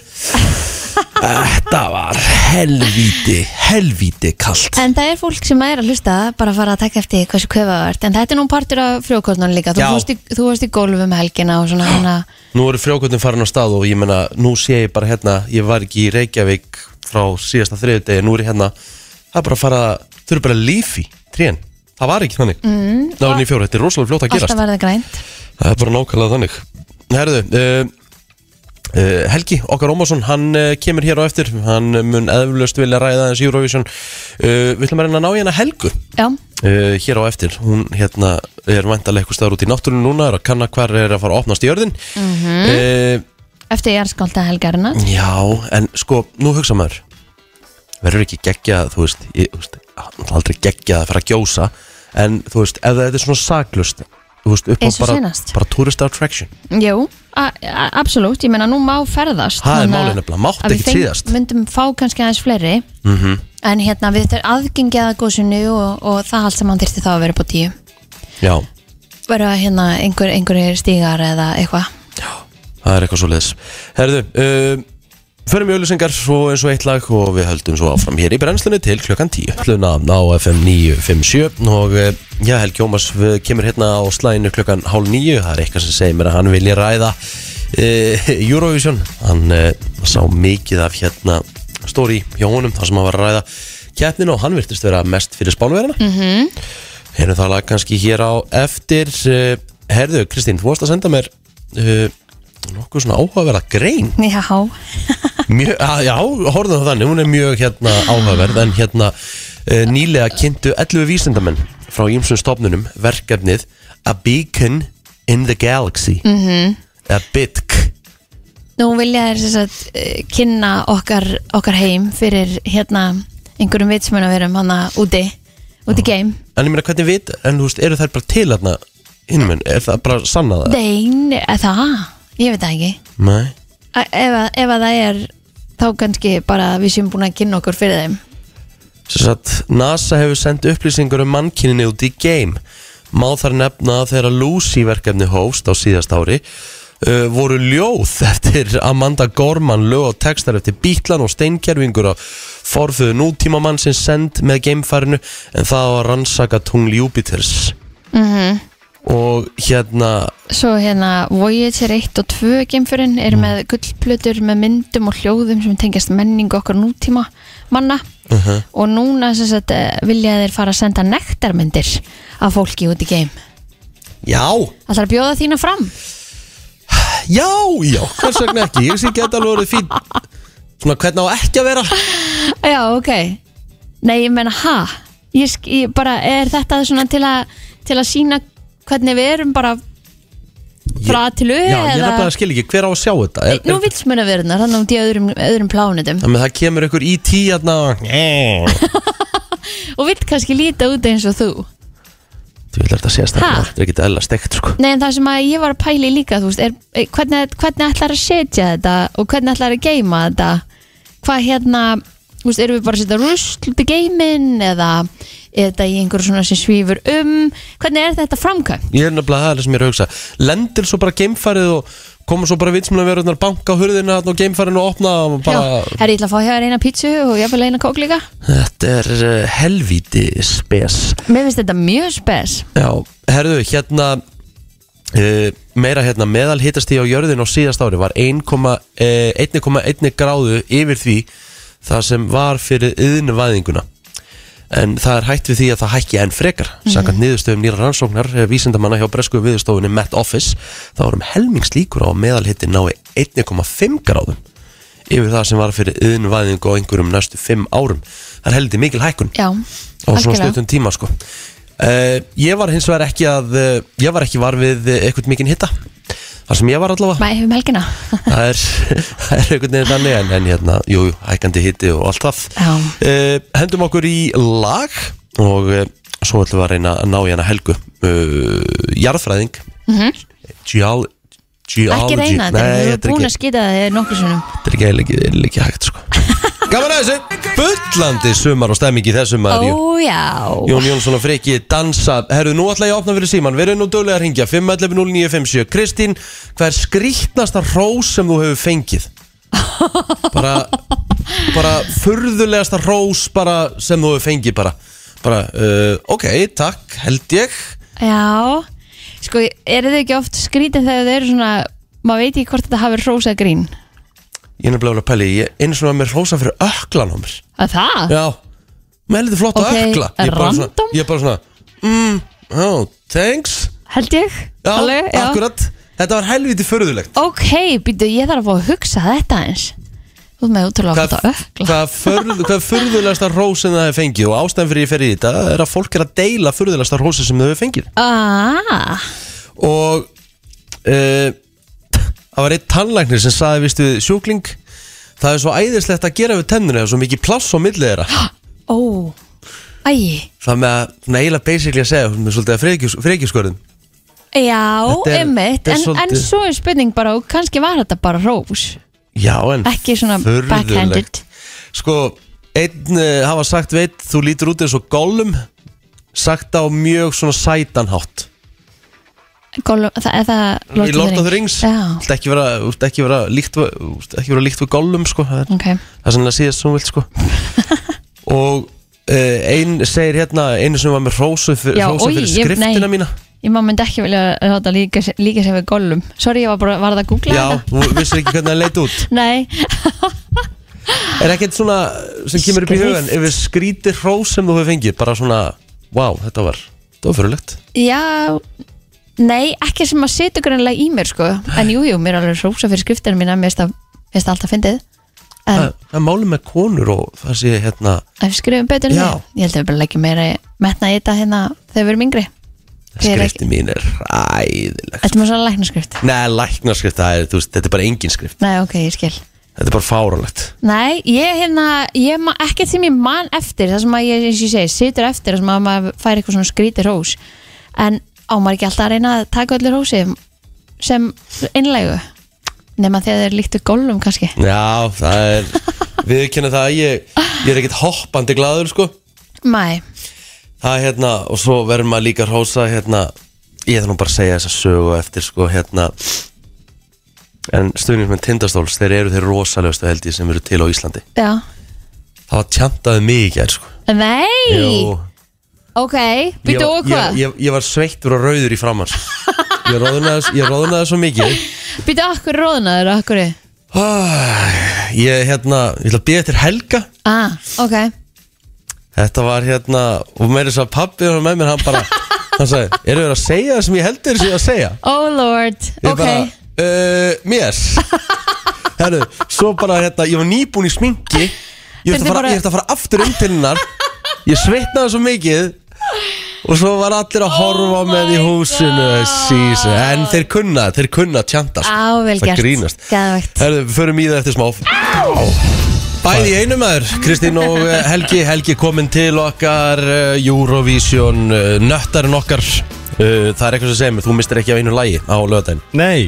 Þetta var helvíti helvíti kalt
En það er fólk sem er að hlusta bara að fara að taka eftir hversu köfa það ert En þetta er nú partur af frjókortnun líka Þú
Já.
fórst í, þú varst í gólfum helgina og svona hana
Nú eru frjókvöldin farin á stað og ég menna nú sé ég bara hérna, ég var ekki í Reykjavík frá síðasta þriðudegi, nú er ég hérna það er bara að fara, þau eru bara líf í trén, það var ekki þannig mm, það var nýfjóra, þetta er rosalega fljótt að gerast
Alltaf verða grænt
Það er bara nákvæmlega þannig Herðu, uh, uh, Helgi okkar Ómarsson, hann uh, kemur hér á eftir hann eh, mun eðflust vilja ræða hans Eurovision uh, Við ætlum að reyna að ná hérna Helgu uh,
Já,
hér á eftir hún hérna er vantarlega eitthvað staðar út í náttúrunum núna er að kanna hvar er að fara að opnast í örðin mm
Mhm. eftir jarðskálda helgarina
Já, en sko, nú hugsa maður verður ekki geggjað, þú veist ég, þú veist, náttúrulega aldrei geggjað að fara að gjósa en þú veist, ef þetta er svona saklust þú veist, upp á
Eins og
bara,
seinast.
bara tourist attraction
Jú, a- a- absolutt, ég meina nú má
Það
ferðast
er
þannig að-
málið nefnilega, mátti
að við
ekkert
feng-
síðast. Mhm.
Myndum fá kannski aðeins fleiri -hmm. En hérna við þetta er aðgengið að góðsynu og, og það allt sem hann þyrfti þá að vera på tíu
Já,
Verða hérna einhver, einhverjir stígar eða eitthvað [laughs]
það er eitthvað svo leiðis Herðu, uh, förum í auðlýsingar svo eins og eitt lag og við höldum svo áfram hér í brennslunni til klukkan 10 Hluna á FM 957 og uh, já, Helgi Ómas eh, kemur hérna á slæðinu klukkan hálf 9 það er eitthvað sem segir mér að hann vilja ræða uh, Eurovision hann uh, sá mikið af hérna stóri hjá honum þar sem hann var að ræða keppninu og hann virtist vera mest fyrir spánverðina Erum það lag kannski hér á eftir eh, Herðu, Kristín, þú varst að senda mér uh, nokkuð svona áhugaverða grein
[laughs] Já,
mjög, að, Já, horfðum það þannig, hún er mjög hérna áhugaverð en hérna uh, nýlega kynntu 11 vísindamenn frá ýmsum stofnunum verkefnið A Beacon in the Galaxy mm A BITC
nú vilja þér þess að eh, kynna okkar, okkar heim fyrir hérna einhverjum vitsmuna verum hann úti, úti geim
En ég meina hvernig vit, en þú veist, eru þær bara til hérna innum henn, er það bara sannað það?
Dein, eða það, ég veit það ekki
Nei
A- ef, að- ef að það er þá kannski bara að við séum búin að kynna okkur fyrir þeim
Sem sagt, NASA hefur sendt upplýsingar um mannkyninni út í game. Má þar nefna að þegar Lucy verkefni hófst á síðast ári uh, voru ljóð [laughs] eftir Amanda Gorman lög og textar eftir Bítlan og Steinkervingur og forföðu nútímamann sem send með gamefarinu en það var rannsaka tungli Júpiters. -hmm. Og hérna,
Svo hérna Voyager 1 og 2 geimfurinn
Mm.
eru með gullplötur með myndum og hljóðum sem tengjast menningu okkar nútíma manna
Uh-huh.
og núna sem sagt eh, vilja þeir fara að senda nektarmyndir af fólki út í geim
já,
Það þarf að bjóða þína fram
já, já, hvers vegna ekki, ég sé geta alveg orðið fín. Svona hvernig á ekki að vera?
[laughs] Já, ok Nei, ég menna, ha? Ég, sk- ég bara, er þetta svona til að til að sína hvernig við erum bara frá að til
Já, ég er
eða-
nefnilega að skilja ekki, hver á að sjá þetta er,
Nú
er,
vill muna verðnar, þannig út í öðrum, öðrum plánutum
Þannig að það kemur ykkur í hérna. tíðarna Þú
og vill kannski líta út eins og þú
vil þetta séast
Ha?
það er ekki eðla steikt sko
Nei, en það sem að ég var að pæli líka þú veist, er, eh, hvernig, hvernig ætlar að setja þetta og hvernig ætlar að geima þetta hvað hérna þú veist, erum við bara að setja rusl út í geimin eða er þetta í einhverju svona sem svífur um hvernig er þetta framkvæmt?
Ég er nefnilega það er það sem ég er að hugsa Lendir svo bara geimfærið og koma svo bara vitsmunaverðunar banka á hurðina þarna og geimfærinu og opna og bara,
Já, herri, ég ætla að fá hjá þér eina pítsu og ég vil eina kók líka
Þetta er eh, helvíti spes
Mér finnst þetta mjög spes
Já, herðu, hérna uh, meira hérna meðal hittast á jörðin á síðast ári var eh, 1,1 1,1 gráðu yfir því það sem var fyrir yðnvæðinguna en það er hætt við því að það hækki enn frekar samkvæmt niðurstöðum nýra rannsóknar eh, vísindamanna hjá bresku viðstofunni Met Office þá erum helmingslíkur á að meðalhitti nái 1,5 gráðum yfir það sem var fyrir yðnvæðingu á einhverjum næstu 5 árum það er heldur mikil hækkun
Já,
á svona stöðum tíma sko. uh, ég var hins vegar ekki að uh, ég var ekki var við uh, eitthvað mikinn hitta þar sem ég var allavega
Mæ, hefum helgina
[laughs] það er, það er einhvern veginn þannig en, en hérna, jú, jú, hækandi hitti og allt það
Já.
uh, hendum okkur í lag og uh, svo ætlum við að reyna að ná í hana helgu uh, jarðfræðing mm -hmm. geol
Mhm. Ekki
geology
reyna þetta,
Nei,
við erum
þetta er
búin
ekki-
að skita það nokkur sinnum
þetta er ekki, ekki, ekki, ekki hægt
[laughs]
sko. gaman að þessu bullandi sumar og stemming í þessum maður jú.
Ó, já
Jón Jónsson og Freki dansa Herðu, nú ætla ég að opna fyrir síman Verðu nú dögulega að ringja 511957 Kristín, hvað er skrýtnasta rós sem þú hefur fengið? Bara bara furðulegasta rós bara sem þú hefur fengið bara bara, uh, ok, takk, held ég
Já, sko, er þau ekki oft skrítið þegar þau eru svona, maður veit ekki hvort þetta hafi rósa grín.
Ég er nefnilega að pæli, ég eins og að mér rósa fyrir öklan á mér
Að það?
Já, með heldur flott
Ok,
að ökla Ég er bara svona-
random?
Ég er bara svona, mm, oh, thanks
Held ég?
Já,
Alveg, já.
akkurat, þetta var helviti furðulegt
Ok, býtu, ég þarf að fá að hugsa þetta eins. Þú ert með útrúlega gott að ökla.
hvað,
[laughs]
förð, hvað furðulegasta rós sem það hefur fengið og ástæðan fyrir ég fer í þetta er að fólk er að deila furðulegasta rósi sem þau hefur fengið
Ah,
og uh, það var einn tannlæknir sem saði vist við sjúkling það er svo æðislegt að gera við tennuna það er svo mikið plass á millið
[gasps]
þeirra
ó, æg.
það með að svona eiginlega basically að segja hún er svolítið að frekjus- frekjuskorðum
Já,
Þetta er-
einmitt,
þetta er
en, en
svolítið-
svo er spurning bara, og kannski var þetta bara rós.
já en
Ekki svona
furðulegt.
backhanded.
sko einn uh, hafa sagt veit þú lítur út eins og gollum sagt á mjög svona sætanhátt
Golum, það er það
í Lord of the Rings
Já,
Þú ert ekki vera, þú ert ekki vera líkt við- þú ert ekki vera líkt við Gollum sko það er,
ok.
það er sannlega síðast sem hún vilt
[laughs]
sko og uh, ein segir hérna einu sem var með rósu fyr,
Já,
rósu
oj,
fyrir
ég-
skriftina
nei.
mína
Ég maður myndi ekki vilja eh, láta líka, líka sem við golum. Sorry, ég var bara, var það að googla
já,
þetta?
þú vissir ekki hvernig það leit út
Nei,
er ekkert svona sem kemur upp í
Skrift.
hugan ef við skrítir rós sem þú hefur fengið bara svona, wow, þetta var þetta var fyrirlegt
Já, nei, ekki sem að setja grannlega í mér sko En jú, jú, mér er alveg rósa fyrir skriftinu mína Mér finnst það- mér finnst það alltaf fyndið En
það, það er máli með konur og það sé hérna
ef við skrifum betur en
Já.
við Ég held að við bara leggjum meira metna í þetta hérna þegar við erum yngri Hver er-
skriftin mín er ræðileg
Þetta er mjög svona læknaskrift
Nei, læknarskrift, það er, þú veist, þetta er bara engin skrift
Nei, ok, ég skil
Þetta er bara fáránlegt
Nei, ég hérna, ég ma, ekkert sem ég man eftir Það sem að ég, eins og ég segi, situr eftir Það sem að maður fær eitthvað svona skrítið rós En á maður ekki alltaf að reyna að taka öllu rósi Sem innlegu Nefna þegar þeir líktu gólum kannski
Já, það er [laughs] Við kynna það að ég, ég er ekkert hoppandi glaður sko
Mæ,
Það er hérna Og svo verður maður líka að hrósa hérna Ég ætla nú bara að segja þessa sögu eftir sko hérna En stuðningsmenn tindastóls Þeir eru þeir rosalegustu held ég sem eru til á Íslandi
já
Það var tjantaði mig ekki sko
Nei,
Jú.
ok,
Ég
býttu
var-
og hvað?
ég, ég, ég var sveittur og rauður í framar sko.
[laughs]
Ég roðnaði, ég roðnaði svo mikið
Býttu okkur róðnaður, okkur
Ah, Ég hérna Ég ætla að býða eftir helga
Ah, ok
Þetta var hérna Og meira þess að pappi var með mér Hann bara Hann sagði Eru þér að segja það sem ég heldur þér séu að segja
Oh lord,
Ég
ok
bara uh, Mér Herru Svo bara hérna Ég var nýbúin í sminki Ég ætti að,
Þurfti
fara-
bara-
ég ætti að fara aftur um til hennar Ég sveitnaði svo mikið Og svo var
Oh
allir að horfa á með í húsinu Jesus. En þeir kunna, þeir kunna að tjanta sko.
Á, vel
Það
gert
grínast.
Geðvægt
Herðu, við förum í það eftir smá Bæði í einu maður, Kristín og eh, Helgi Helgi komin til okkar eh, Eurovision, eh, nöttarinn okkar Eh, Það er eitthvað sem segir mér, þú mistir ekki af einu lagi á löðdæn
Nei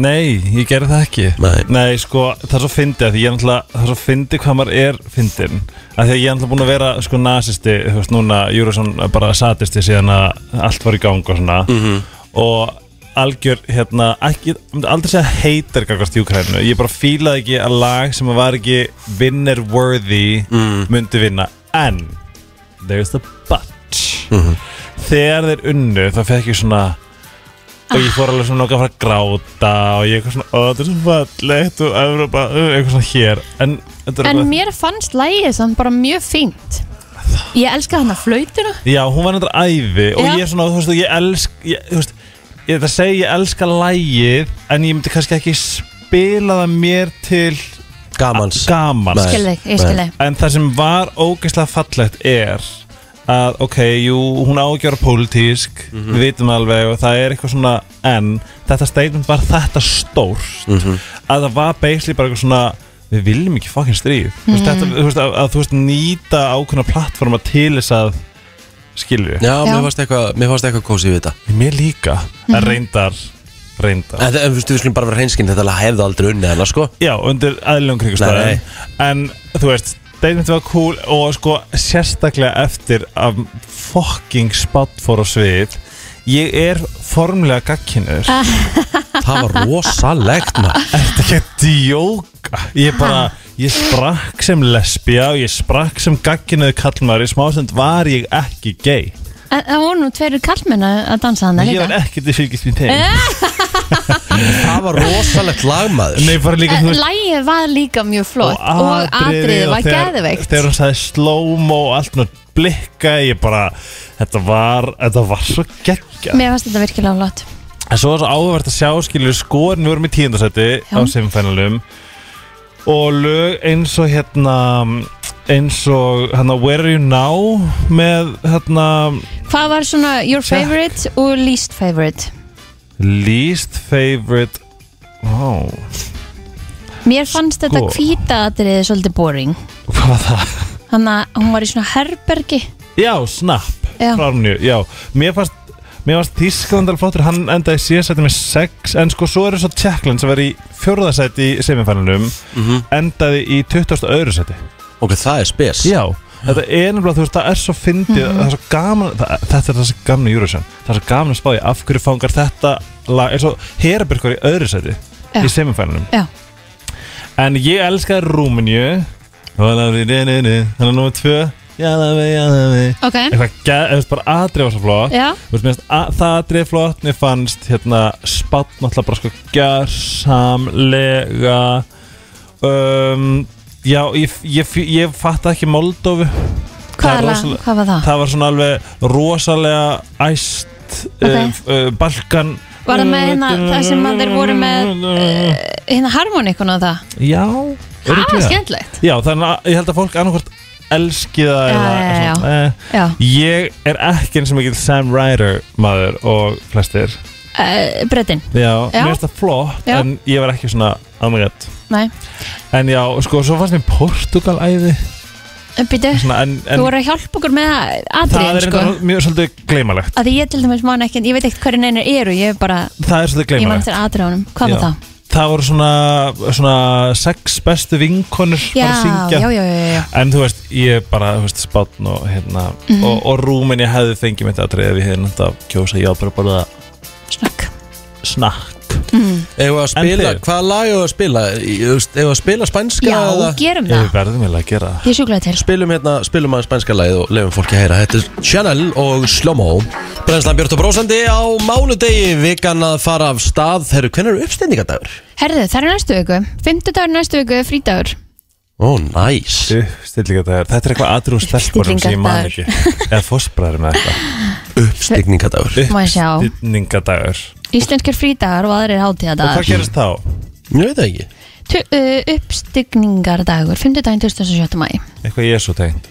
Nei, ég gerði það ekki
Nei.
sko, það er svo fyndið að því ég er náttúrulega Það er svo fyndið hvað maður er fyndin að Því að ég er náttúrulega búin að vera sko nazisti Þú veist núna, Júrasson bara satisti Síðan að allt var í gang og svona -hmm. Og algjör hérna ekki, ég myndi aldrei segja heitar gagast í Ukraínu, ég bara fílaði ekki að lag sem var ekki winner worthy myndi vinna en there's the but þegar þeir unnu þá fekk ég svona og ég fór alveg svona nokkuð að fara að gráta og ég eitthvað svona, ó þetta er svo fallegt og Evropa, uh, eitthvað svona hér en, þetta er
En
bara-
mér fannst lægið samt bara mjög fínt Ég elska hann að flautuna
já, hún var náttúrulega æði og
Já.
ég er svona, þú veist, og ég elsk ég, þú veist, ég þetta segi ég elska lægið en ég myndi kannski ekki spila það mér til
Gamans
gamans
Nei.
Skil þig, ég skil þig
En það sem var ógeðslega fallegt er að ok, jú, hún ágjöra pólitísk, við vitum alveg og það er eitthvað svona, en þetta statement var þetta stórt að það var basically bara eitthvað svona við viljum ekki fucking stríð mm -hmm. þetta, þú veist, að, að þú veist, nýta ákveðna plattforma til þess að skilju,
Já,
Já.
mér fannst eitthvað, mér fannst eitthvað kósið við þetta
mér líka en reyndar, reyndar
En það, við skulum bara vera hreinskinn, þetta lag hefði aldrei unnið hana, sko
Já, undir aðlum
Nei,
kringustæðin En þú veist, statement var cool Og sko, sérstaklega eftir Að fucking spott fór á svið Ég er formlega gagkinur
Það var rosalegt, maður
Þetta ekki að djóka Ég bara, ég sprakk sem lesbía Og ég sprakk sem gagkinuð kallmaður Í smásend var ég ekki gay
En það voru nú tveirur kallmenn að að dansa hann
Ég
líka
var ekki til fylgist mín tegin
Það var rosalegt lag, maður
Nei, bara líka,
En
þú veist
Lægið var líka mjög flott Og atriðið
og
var
þegar-
geðveikt
þegar hún sagði slow-mo og allt nátt blikka ég bara, þetta var þetta var svo geggja
Mér fannst þetta virkilega flott
en svo var svo áhverð að sjá skilur skorin við vorum í tíundasæti
Já.
á semifænalum og lög eins og hérna eins og hérna Where Are You Now með hérna
Hvað var svona your
Check.
favorite og least favorite?
least favorite wow,
Mér fannst þetta
Sko.
hvíta atriðið svolítið boring
hvað var það?
Þannig að hún var í svona herbergi
Já, Snap
Já.
Frárnju, já Mér fannst Mér fannst Þísklandar flottur, hann endaði síðasæti með 6 En sko, svo eru svo Tjekkland sem var í fjórðasæti í semifænunum Endaði í 20. öðru sæti
Ok, það er spes
Já Þetta er nefnilega, þú veist, það er svo fyndið
Mhm.
Það er svo gaman, það, þetta er það sem gaman í Eurovision Það er svo gaman að spáði, af hverju fangar þetta lag Er svo Herabyrkur í öðru sæti
Já.
Í semifænunum
Já.
En ég elskaði Rúmenju Þannig að númer 2 Jalavi, jalavi
Ok,
eitthvað geð, eða þú veist, bara aðrið var svo flott
já,
Þú veist, mér finnst að- það aðrið flott mér fannst hérna spátt náttúrulega bara sko gjörsamlega um, já, ég, ég, ég fatt ekki Moldófu Það er
hvað, rosalega...
rosalega-
hvað var það?
það var svona alveg rosalega æst
Ok.
okay. uh, Balkan
Var það með hérna, það sem að þeir voru með uh, hérna harmonikuna og það?
já,
Það var
örugglega.
skemmtilegt
já, þannig að ég held að fólk annarkvort elski það
Já,
eða
já, já.
svona, eh,
Já,
ég er ekki eins og mikil Sam Ryder maður og flestir
uh, breytin,
Já,
Já.
mér finnst það flott
Já.
En ég var ekki svona aðmengett
nei,
En já, sko, svo fannst mér Portugal æði
byrju
svona, En, en
Þú voru að hjálpa okkur með
það er
atriðin sko
sko. mjög svolítið gleimalegt
að því ég til dæmis man ekki, ég veit ekkert hverju neynir eru ég er bara,
Það er svolítið
ég man
gleimalegt
til atriðunum hvað
Já.
var það?
Það voru svona, svona sex bestu vinkonur
Já,
bara
já,
að syngja
já, já, já, já.
En þú veist, ég bara, þú veist, spátn og hérna
Mhm.
og, og rúmin ég hefði fengið mitt aðrið ef ég hefði nátt að kjósa ég á bara bara
snakk
snakk
Ef að spila,
En þið?
hvaða lag hefur að spila? Ég- þú veist, Ef að spila spænska
já,
eða-
gerum
Ég
það,
verðum eiginlega að gera það
ég sjúklaði til
spilum hérna, spilum að spænska lagið og lefum fólki að heyra. Þetta er Chanel og Slomo. Brennslan Björn og Brósandi á mánudegi, vikan að fara af stað. Herru, hvernig eru uppstendingadagur?
herðu, það er næstu viku, fimmtudagur næstu viku er frídagur,
Ó, næs.
Uppstillingardagar, þetta er eitthvað aðrú stelpunum sem ég
[laughs]
man ekki Eða fósbræður með eitthvað
Uppstendingadagur.
Má ég sjá.
Uppstillingardagur
íslenskir frídagar og aðrir
Og hvað
hátíðadagar
gerist þá?
Ég veit það ekki.
Tu- uh, uppstigningardagur, fimmtudaginn 2007. mæ
Eitthvað Jésu tengt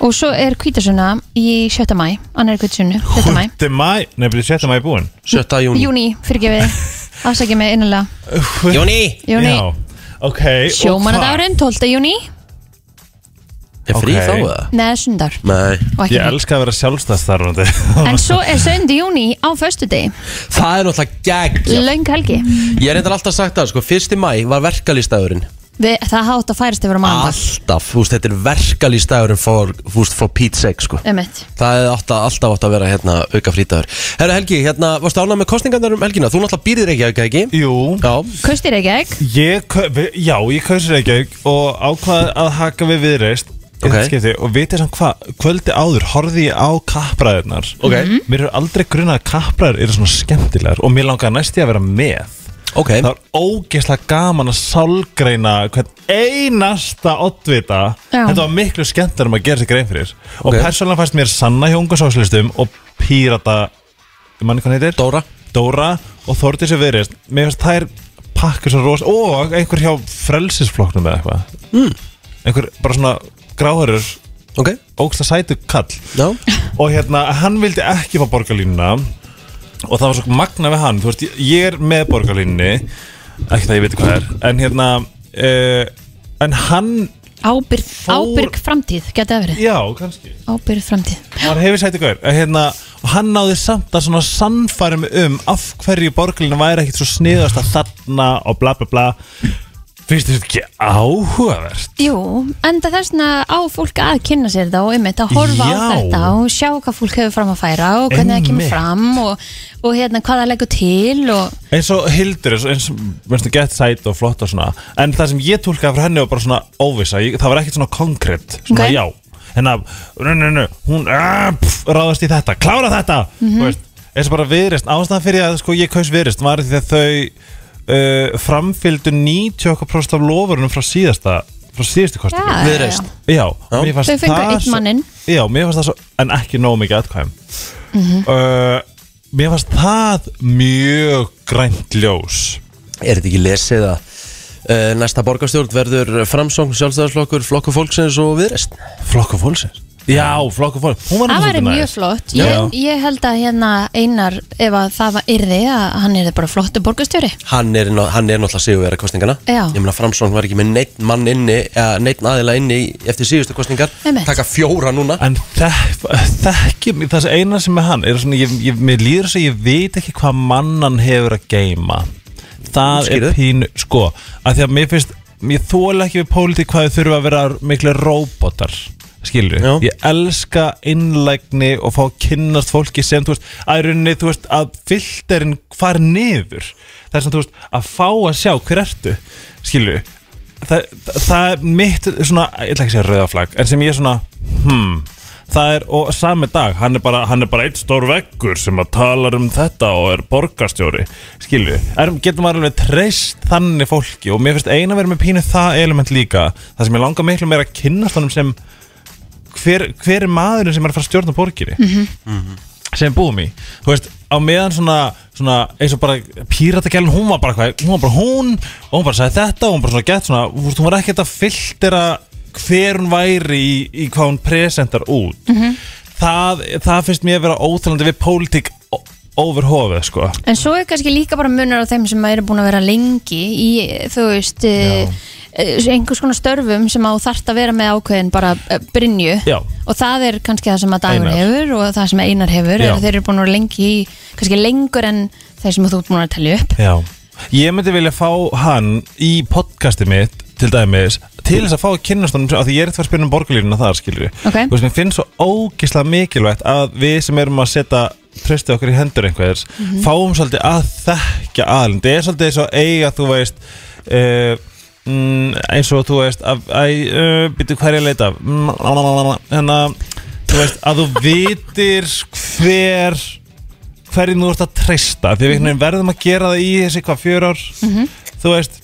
og svo er kvítasuna í 7. mæ annar kvítasunu, 7. mæ
7. mæ, nei, byrju, 7. mæ búin
7. júni
Júni,
[laughs]
fyrirgefið, afsækja mig innanlega
Júni
Júni,
Já, ok og
sjómanadárinn, 12. júni
Er frí
Ok.
þá eða?
neða sundar
Nei
og
hvað?
ekki
Ég
neitt.
elska að vera sjálfstæðstarfandi
en svo er 7. júni á föstudegi
Það er náttúrulega gegn
löng helgi
Ég er reyndar alltaf sagt það sko Fyrsti mæ var verkalýstagurinn
Við, það hátt að færast yfir á mándag
Alltaf Þú veist þetta er verkalýstagurinn For, þú veist, for Pete's sake sko
um eitt
Það er alltaf, alltaf átt að vera hérna auka frítagur Herra Helgi, hérna, varstu ánað með kostningarnar um helgina? Þú náttúrulega býrðir ekki, ekki?
[laughs] Jú
Já,
Kaustir ekki ekki?
ég, kau- vi- Já, ég kausir Reykjavík og ákvað að haka við viðreist
Ok.
og vitið samt hvað, kvöldi áður horfði ég á kappræðirnar
Ok.
Mhm.
Mér er aldrei grunnað að kappræðir eru svona skemmtilegar og mér langar næst ég að vera með
ok
Það var ógeðslega gaman að sálgreina hvern einasta oddvita
Já.
Þetta var miklu skemmtar um að gera sér grein fyrir Og
Ok.
persónulega fannst mér sanna hjá unga sóslistum og pírata, ég manni hvað hann heitir?
Dóra
Dóra og Þórdís er verið Mér finnst þær pakkur svo rosa Og einhver hjá frelsisflokknum eða eitthvað mm.
Hmm.
Einhver bara svona gráhörur
Ok,
Ógeðslega sætu kall
já,
og hérna, hann vildi ekki fá borgarlínuna og það var svo magna við hann þú veist, ég- ég er með borgarlínunni ekki það ég veit hvað er en hérna, uh, en hann
Ábyrg,
Fór-
ábyrg framtíð, geta verið
já, kannski,
Ábyrg framtíð
hann hefur sætt ykkur hérna, og hann náði samt að svona sannfærum um af hverju borgarlínu væri ekkit svo sniðast að þarna og bla bla bla finnst þetta ekki áhugavert
Jú, enda þessna á fólk að kynna sér þetta og um eitt að horfa á
Já.
þetta og sjá hvað fólk hefur fram að færa og hvernig það kemur
Einmitt.
fram og, og hérna hvað það leggur til og
eins og Hildur eins og- eins og minnst, gett sæt og flott og svona en það sem ég tólkaði frá henni var bara svona óvissa ég, það var ekkert svona konkrétt svona
Ok.
já hérna nu, nu, nu, hún uh, pff, ráðast í þetta klára þetta mm
Mhm.
-hmm. eins og bara viðrist ástæðan fyrir að sko, ég kaus viðrist var því að þau uh, framfylgdu 90% af lofurunum frá síðasta frá síðustu kosti
Já, já, já.
viðreist
Já,
Já.
mér fannst
Þau fengu
það
einn
svo-
manninn.
Já, mér fannst það svo, en ekki nóg mikið atkvæm
Mhm.
uh, Mér fannst það mjög grænt ljós
Er þetta ekki lesið að uh, næsta borgarstjórn verður framsóng, sjálfstæðarslokkur, flokkur fólksins og viðreist?
Flokku fólksins Já, flokku fólksins Hún var
það væri
náttúrulega svolítið
mjög
næs.
flott
Já.
ég, ég held að hérna Einar ef að það var yrði að hann yrði bara flottu borgarstjóri
Hann er, ná- hann er náttúrulega sigurverið kostningana
Já.
Ég meina framsóng var ekki með neitt mann inni, eða neitt aðila inni í- eftir síðustu kostningar
Einmitt.
Taka fjóra núna
En þekkjum, það sem eina sem er hann er svona, ég, ég, Mér líður svo ég veit ekki hvað mannan hefur að geyma Það
Útskýrðu.
er pínu, sko að Því að mér finnst, ég þóla ekki við pólitík hvað þau þurfa að vera miklu róbótar skilur,
Já.
ég elska innlægni og fá að kynnast fólki sem, þú veist, að í rauninni, þú veist að filterinn far niður það er svona, þú veist, að fá að sjá hver ertu, skilur það, það, það er mitt svona, ég ætla ekki að segja rauðaflag, en sem ég er svona hmm, það er, og sami dag hann er bara, hann er bara eitt stór veggur sem að talar um þetta og er borgarstjóri skilju, er, getur maður alveg treyst þannig fólki og mér finnst eina verið með pínu það element líka það sem ég langar miklu meira að kynnast honum sem hver, hver er maðurinn sem er að fara að stjórna borginni sem við búum í þú veist, á meðan svona, svona eins og bara píratagælun, hún var bara hvað, hún var bara hún og hún bara sagði þetta og hún bara svona gett svona, þú veist, hún var ekkert að filtera hver hún væri í, í hvað hún presentar út það, það finnst mér að vera óþælandi við pólitík o- over hofið, sko
En svo er kannski líka bara munur á þeim sem eru búin að vera lengi í, þú veist, eh, eh, einhvers konar störfum sem á þart að vera með ákveðin bara eh, brinju
Já.
og það er kannski það sem að Dagur
Einar.
hefur og það sem Einar hefur,
Já.
er, að þeir eru búin að vera lengi í, kannski lengur en þeir sem þú ert búin að telja upp.
Já Ég myndi vilja fá hann í podcasti mitt til dæmis, til þess að fá að kynast honum af því ég er eitthvað að spyrja um borgarlínuna þar skilur
Ok.
Þú veist, mér finnst svo ógislega mikilvægt að við sem erum að setja tröstið okkur í hendur einhvers fáum svolítið að þekkja aðlum það er svolítið eins og eiga þú veist uh, mm, eins og þú veist að, að, uh, býtu hverja leita Mm, lalalala, hérna þú veist að þú vitir hver hverjum þú ert að treysta því við einhvern veginn verðum að gera það í þessi hvað fjör ár Mhm. þú veist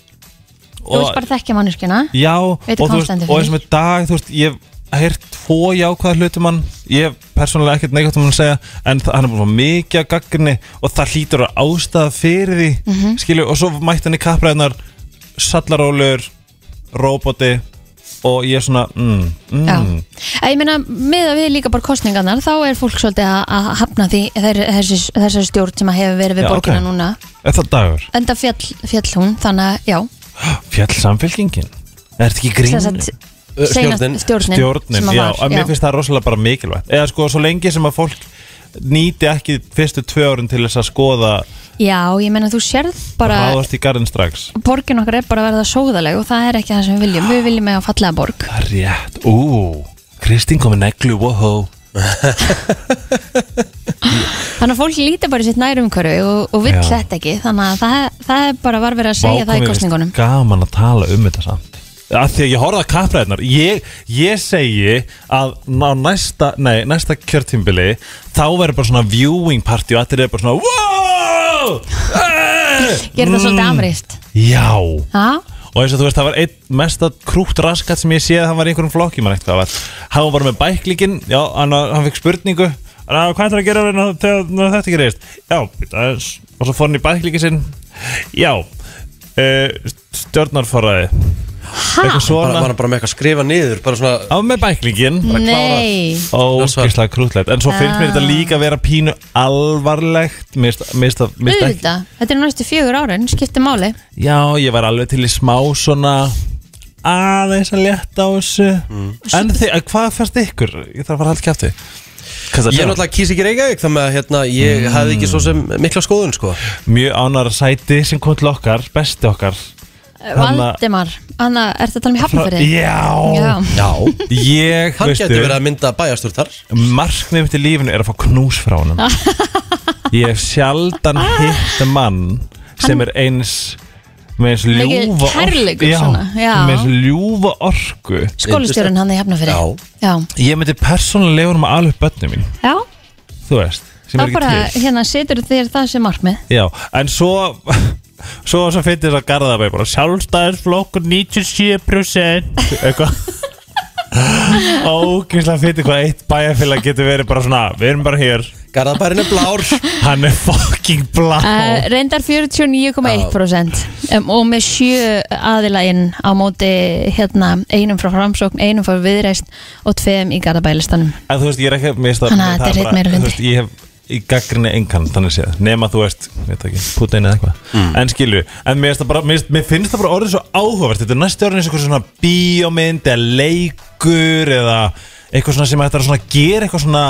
Þú veist bara að þekkja manneskina.
já,
Veitir
og,
hvað
þú
hún
veist,
stendur
og eins og
fyrir.
með dag þú veist, ég hef heyrt tvo jákvæða hlutum hann ég hef persónulega ekkert neikvægt um hann að segja en það, hann er búin að fá mikið að gaggrinni og það hlýtur að ástæða fyrir því mm
Mhm.
og svo mætti hann í kappræðnar sallarólegur, róboti og ég er svona mm,
Já,
mm,
að ég meina með að við líka bara kostningarnar þá er fólk svolítið að, að hafna því þeir, þessi, þessari stjórn sem að hefur verið við
Já,
borgina
ok.
núna
er það dagur?
enda fjall, fjall hún, þannig að já
Fjall samfélkingin? Er þetta ekki
sem
grín?
sagt, seinast-
stjórnin.
stjórnin, sem
Stjórnin,
að
já,
var,
að mér finnst það rosalega bara mikilvægt eða sko, svo lengi sem að fólk nýti ekki fyrstu tvö árin til þess að skoða
já, ég meina þú sérð bara
ráðast í garðin strax
borgin okkar er bara að verða sóðaleg og það er ekki það sem við viljum, við viljum eiga fallega borg
Það er rétt, ú Kristín komið neglu, woho
þannig að fólk líti bara í sitt nærumhverfi og, og vill
Já.
þetta ekki, þannig að það, það er bara var verið að segja það í kostningunum
gaman að tala um þetta samt að því að ég horfði að kappræðnar ég, ég segi að á næsta, nei, næsta kjörtímbili þá verður bara svona viewing party og allir er bara svona wow!
[laughs]
Eh!
gerir það svolítið afreist
já
ha?
og eins og þú veist það var einn mesta krútt raskat sem ég séð að hann var í einhverjum flokki mann eitthvað var. hann var bara með bæklíkin já, hann, hann fikk spurningu hann, "Ah, hvað ætlar að gera ná, þegar ná, þetta gerist já, býta aðeins. og svo fór hann í bæklíkin sinn já uh, stjórnarforraði eitthvað
Bara,
svona
var hann bara með eitthvað að skrifa niður Bara svona
á með bæklíkin
Nei,
ógislega krútlegt en svo finnst mér
Ah.
þetta líka að vera pínu alvarlegt mist, mist, mist ekki
auðvitað, þetta er næstu fjögur árin, skiptir máli
Já, ég var alveg til í smá svona aðeins að létta á þessu
Mm.
En þið, að hvað færst ykkur? Ég þarf að fara allt kæfti
Ég náttúrulega kýs ekki Reykjavík Þannig að hérna, ég mm. hafði ekki svo sem mikla skoðun sko.
Mjög ánara sæti sem kom til okkar, besti okkar Hanna-
Valdimar, Anna, er þetta talað um hafnafyrði?
Já,
Já
ég,
Hann
veistu
getur verið að mynda bæjastur þar
Markmið mitt í lífinu er að fá knús frá
[laughs]
honum Ég hef sjaldan
Ah.
hitt mann sem er eins með eins
Mikið
ljúfa
kærleikur
Já,
svona, já.
með eins ljúfa orku
Skólistjórun hann í hafnafyrði Já,
Ég myndi persónulega um að ala upp börnum mín
já,
þú veist sem
þá
er ekki
bara
til
hérna setur þér það sem markmið
Já, en svo [laughs] svo svo finnst þess að garðabæði bara sjálfstæðisflokkur 97% eitthvað [laughs] ógeinslega finnst hvað eitt bæjarfélag getur verið bara svona við erum bara hér,
Garðabærin er blár
hann er fucking blá
Uh, reyndar 49,1% um, og með sjö aðila inn á móti hérna einum frá framsókn, einum frá viðreist og tveim í Garðabælistanum
en þú veist, ég er ekki mér finnst það-
Þannig að
það
þetta er
er
hreinn meirihluti.
þú veist, ég hef í gaggrinni engan, þannig séð nema þú veist, veit ekki, Putin eða eitthvað en skilju, en mér finnst það bara mér finnst- mér finnst það bara orðið svo áhugavert þetta er næstu orðin eins og eitthvað svona bíómynd eða leikur eða eitthvað svona sem ætlar að svona gera eitthvað svona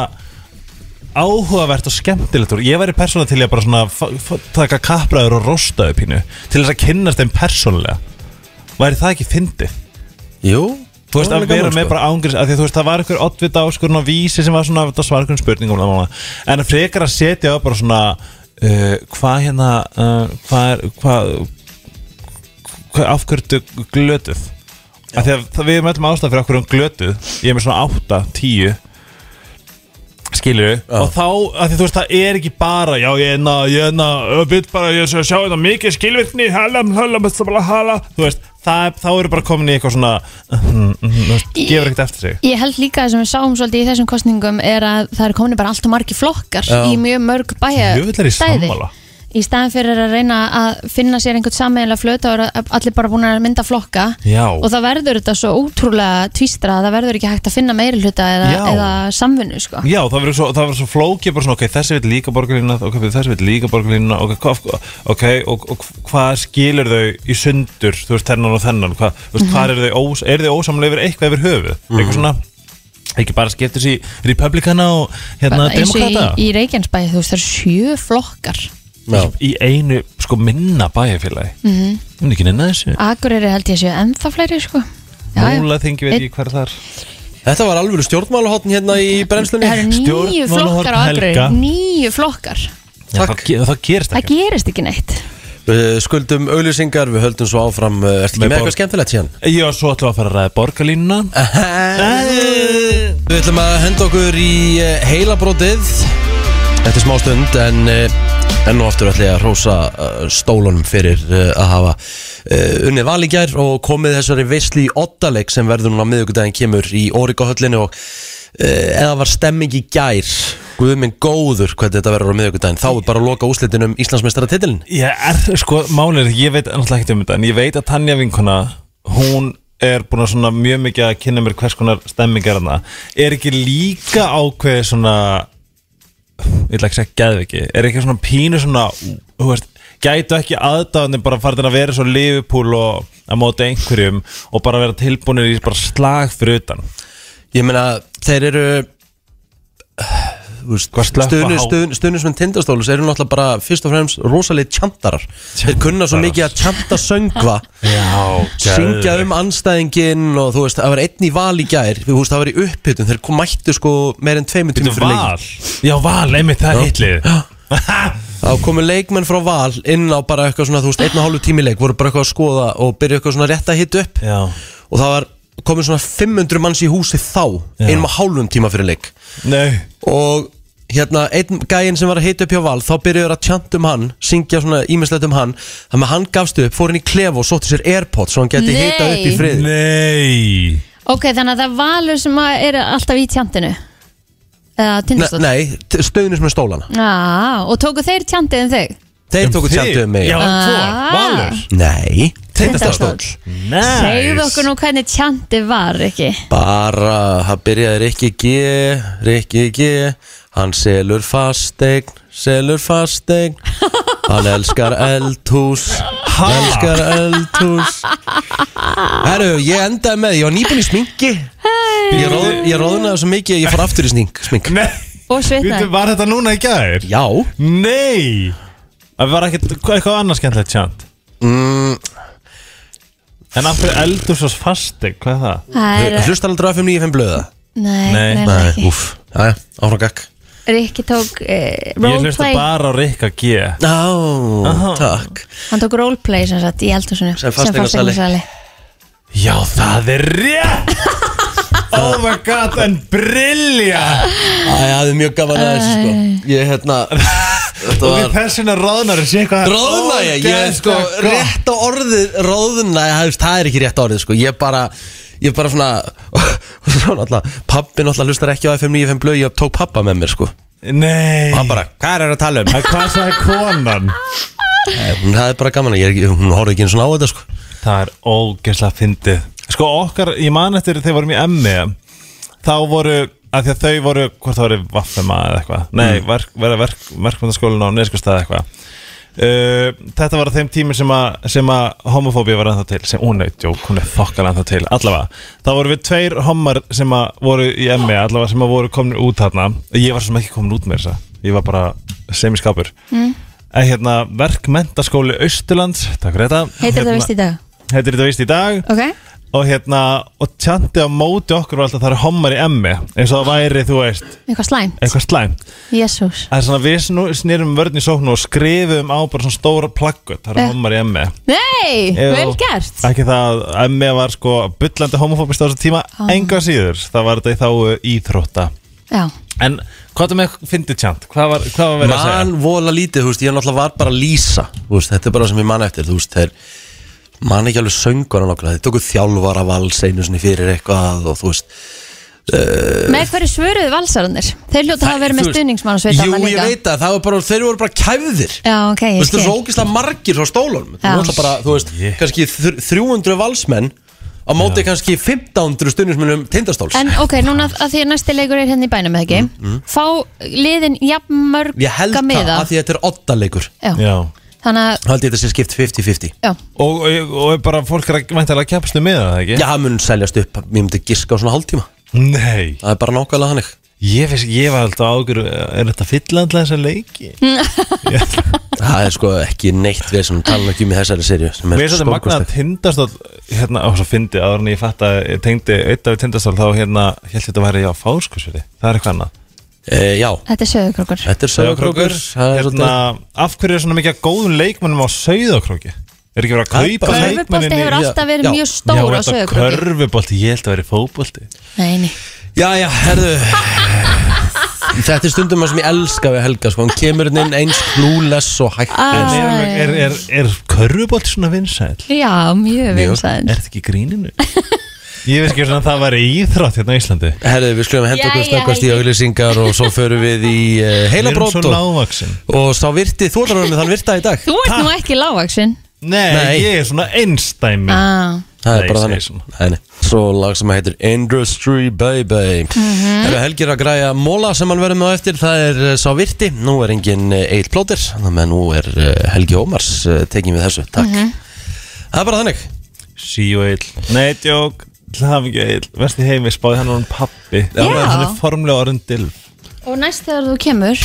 áhugavert og skemmtilegt úr. ég væri persónulega til ég að bara svona fa- fa- taka kappræður og rosta upp hínu til þess að kynnast þeim persónulega væri það ekki fyndið
Jú
Þú veist,
það
að
er
vera
gaman, sko.
með bara ángriðs að því þú veist, það var einhver oddvit áskurinn á vísi sem var svona, það var einhvern spurningum og það var svona. en að frekar að setja á bara svona uh, hvað hérna uh, hvað er, hvað hvað af hverju ertu glötuð að því að það, við erum öllum ástæð fyrir okkur um glötuð ég er með svona 8, 10 skilur og þá, að því þú veist, það er ekki bara já, ég enna, ég enna, við bara ég sjá þetta mikið skilvirkni halam, halam, halam, halam þú veist, það, er- þá eru bara komin í eitthvað svona mhm, mhm, þú veist, gefur ekkert eftir sig
Ég held líka að sem við sáum svolítið í þessum kostningum er að það er komin bara allt og margi flokkar í mjög mörg bæja
Jöfull er ég
stæði.
sammála.
Í staðin fyrir að reyna að finna sér einhvern sammeðilega flöt og allir bara búin að mynda flokka
Já.
og það verður þetta svo ótrúlega tvístra að það verður ekki hægt að finna meiri hluta eða,
Já.
eða samvinnu sko.
Já, það verður svo, það verður svo flókið bara svona, ok, þessi vil líka borgarlínuna, ok, þessi vil líka borgarlínuna, ok, hvað, ok, og, og hvað skilur þau í sundur, þú veist, þennan og þennan, hvað, þú veist, hvað er þau, ós, er þau ósamlega yfir eitthvað yfir höfuð, eitthvað svona, ekki bara skiptis í republikana og hérna
Bara eins og í,
demokrata,
í Reykjanesbæði þú veist það eru sjö flokkar.
Já.
í einu, sko, minna bæjarfélagi, mm
Mhm.
-hmm. hún er ekki neina þessu,
Akureyri held ég séu ennþá fleiri sko. Já, já.
múla þingi veit ég hver þar,
Þetta var alveg stjórnmálahotn hérna í brennslunni
Það eru níu
Stjórnmálahorn
flokkar á Akureyri,
Helga.
níu flokkar.
Já, það, ge- það gerist
Það
ekki,
gerist ekki neitt.
Við skuldum auðlýsingar, við höldum svo áfram uh, Ertu ekki
Með
með
borg-
eitthvað skemmtilegt síðan?
já, svo ætlum við að fara að ræða borgarlínuna,
Við ætlum að henda okkur í uh, heilabrótið Þetta er smá stund en uh, enn og aftur ætlum ég að rosa stólunum fyrir uh, að hafa uh, unnið valíkjær og komið þessari veisli í ottaleg sem verður núna á miðvikudaginn kemur í Órikahöllinu og uh, eða var stemming í gær Guðminn góður hvernig þetta verður á miðvikudaginn þá er bara að loka úslitinum Íslandsmeistaratitilin
Ég er, sko, málið er, ég veit náttúrulega ekkert um þetta En ég veit að Tanja vinkona Hún er búin að svona mjög mikið að kynna mér hvers konar stemmingar hana er ekki líka ákveðið svona ég ætla ekki að segja geðviki er ekki svona pínu svona þú veist, gætu ekki aðdáðanir bara farin að vera svo lifupúl og að móta einhverjum og bara vera tilbúinir í bara slag fyrir utan
Ég meina, þeir eru Þú veist,
Hvað slökkva
stuðnu-
há-
stuðnu- stuðnismenn tindastólu eru náttúrulega bara fyrst og fremst rosalega tjantarar þeir kunna svo mikið að tjanta
[laughs]
söngva
Já,
syngja um anstæðingin og þú veist, það var einn í val í gær þú veist, það var í upphittun, þeir kom mættu sko meir en tveimur tímum fyrir leikin
val Já, val, einmitt það
Já.
er hitlið
þá komu leikmenn frá val inn á bara eitthvað svona, þú veist, einn og hálfu tími leik voru bara eitthvað að skoða og byrja eitthvað svona rétt að hitta upp
[laughs] Já,
og það var komið svona 500 manns í húsi þá,
Já.
einum og hálfum tíma fyrir leik
nei
og hérna einn gæinn sem var að heita upp hjá Val þá byrjuður að tjanta um hann, syngja svona ímislegt um hann, þannig að hann gafst upp fór inn í klefa og sótti sér Airpods svo hann geti
Nei.
heitað upp í frið
Nei
Ok, þannig að það er valur sem að eru alltaf í tjantinu Eða
Ne
tindastótt
Nei, stöðnus með stólana
ah, Og tóku þeir tjantið en þig?
Þeir tóku tjanta um mig
Já, tvo,
Ah.
valur
Nei,
Tindastóll.
Nice.
Segðu okkur nú hvernig tjantið var, ekki
Bara, það byrjaði Rikki G Rikki G Hann selur fasteign Selur fasteign Hann elskar eldhús Elskar eldhús Herru, ég endaði með Ég var nýbúin í sminki Ég, roð, ég roðnaði svo mikið að Ég fór aftur í smink, smink.
Nei
Og
Veitu,
svitnaði
var þetta núna í gær?
Já
Nei Það var ekkert hvað- eitthvað annað skemmtilegt tjant
mm,
En af hverju eldur svo fasti, hvað er það?
Það er-
Hlustar aldrei að 595 blöða
Nei,
Nei,
nei, nei,
Nei,
ekki
úff Jæja, áfram gakk
Rikki tók eh,
Ég hlusta
roleplay
bara á Rikka G
Á, takk
Hann tók roleplay sem sagt í eldhúsinu
Sem fasteignasali.
fasteignasali.
Já, það er
[laughs]
rétt Oh my god, en brilja
Æ, það er mjög gaman að þessu sko Ég hérna [laughs] Þetta
Og
var
við þessina ráðnar sé eitthvað
Róðna ég, ég er sko rétt á orðið Róðna, það er ekki rétt orðið sko Ég bara, ég bara svona [laughs] Svona alltaf, pappi náttúrulega hlustar ekki á FM 95 blöð Ég tók pappa með mér sko Og
Nei
hann bara, hvað er það að tala um?
En Hvað sagði konan?
Hún hafði bara gaman að ég, er ekki- hún horfði ekki eins og á þetta sko
Það er ógeðslega fyndið Sko okkar, ég man eftir þegar vorum í emmi Þá voru, af því að þau voru Hvort það voru vaffema eða eitthvað Nei, verk, verða verk, verkmyndaskólinu á neskustæð eitthvað Uh, þetta var á þeim tími sem að, sem að homofóbía var ennþá til sem ónættjók, hún er fokkal ennþá til allavega, þá voru við tveir homar sem að voru í emmi, allavega sem að voru komin út þarna, ég var sem ekki komin út með þessa ég var bara semiskápur mm. en hérna, verkmentaskóli Austurlands, takk fyrir þetta Hérna-
Heitir
Hérna.
þetta vist í dag
heitir þetta vist í dag
Ok,
og hérna, og tjandi á móti okkur var alltaf það er homar í emmi eins og það væri, þú veist,
eitthvað slæmt
eitthvað slæmt
Jésús
það er svona, við snú- snýrum vörn í sóknu og skrifum á bara svona stóra plakku það
Eh.
er homar í emmi
Nei,
Ef-
vel gert
ekki það, að emmi var sko byllandi homofóbist á þessu tíma, ah. enga síður það var þetta í þá íþrótta
Já,
en hvað er með fyndi tjant, hvað var, hvað var verið að segja
Man vola lítið, þú veist, ég náttúrulega var bara að lýsa Þú veist, þetta er bara sem ég man eftir, þú veist, þeir Man ekki alveg söngur á nokkulega Þeir tóku þjálfara vals einu sinni fyrir eitthvað Og þú veist,
með hverju svöruðu valsararnir? Þeir hljóta hafa verið
Þú
með
veist,
stuðningsmann og
Jú,
sveitarna
ég
líka
veit að það var bara, þeir voru bara kæfðir
Já, ok,
Þú veist,
ég
það er
skil
svo ógislega margir frá stólunum Það
Já.
er náttúrulega bara, þú veist,
Shit.
kannski þr- 300 valsmenn á móti kannski 1500 stundismunum tindastóls
En ok, núna að því að næsti leikur er hérna í bænum eða ekki Fá liðin jafn mörg
Mm, Ég held það að því að þetta er 8 leikur
Já,
Já.
þannig að,
Haldi þetta sé skipt 50-50
já,
og, og, og bara fólk er væntalega að keppstu með það ekki
Já, það mun seljast upp, ég myndi giska á svona hálftíma
nei,
Það er bara nákvæmlega hannig
ég finnst, ég var alltaf ágjör er þetta fyllandlega þessa leiki
Það er sko ekki neitt við sem tala ekki um í þessari serju sem
Mér
er
er svolítið magna að
stórkostleg. tindastól
hérna, og svo fyndi áður en ég fatt að ég tengdi auðvitað við tindastól þá hérna, held þetta væri á fáskursveri það er eitthvað annað
Eh, Já,
þetta er söðukrokur
þetta er sögurkrókur Það er
hérna,
svolítið-
af hverju er svona mikið af góðum leikmennum á Sauðakróki? Er ekki verið
Það
að
er
kaupa
bara-
leikmennin
Körfubolti hefur
Já,
alltaf verið
já.
mjög
Já,
stór á
þetta
söðukrokur
körfubolti, ég held að verið fótbolti
Nei, nei,
Já, já, herðu Þetta er stundum að sem ég elska við Helga sko. Hún kemur hérna inn eins klúless og hægt
En
Ah.
er.
er, er, er, er körfubolti svona vinsæl?
já, mjög
Er
vinsæðin
þetta ekki í gríninu? [laughs] Ég veist ekki svona að það væri íþrótt hérna á Íslandi
Herðu, við skulum henda okkur
Jæja,
snöggvast í
Helgi.
auglýsingar og svo förum við í uh,
Við erum
heilabrót
svo
og,
lágvaksin
og sá virti þú ætlar að vera með þann virta í dag
Þú ert nú ekki lágvaxin
Nei,
Nei.
ég er svona einstæmi
ah.
Það er bara
Nei, ég
þannig
segi svona.
Nei, nei. Svo lag sem heitir Industry Baby Það er Helgir að græja móla sem hann verður með á eftir Það er eh, sá virti, nú er engin Egil Plóter Þannig að nú er eh, Helgi Ómars eh, tekin við þessu, takk Það er bara þannig
Sí og eil Nei, djók Hlafingja eil Vesti heimi spáði hann orðin pappi Já Hann er formlega orðin dilf
Og næst þegar þú kemur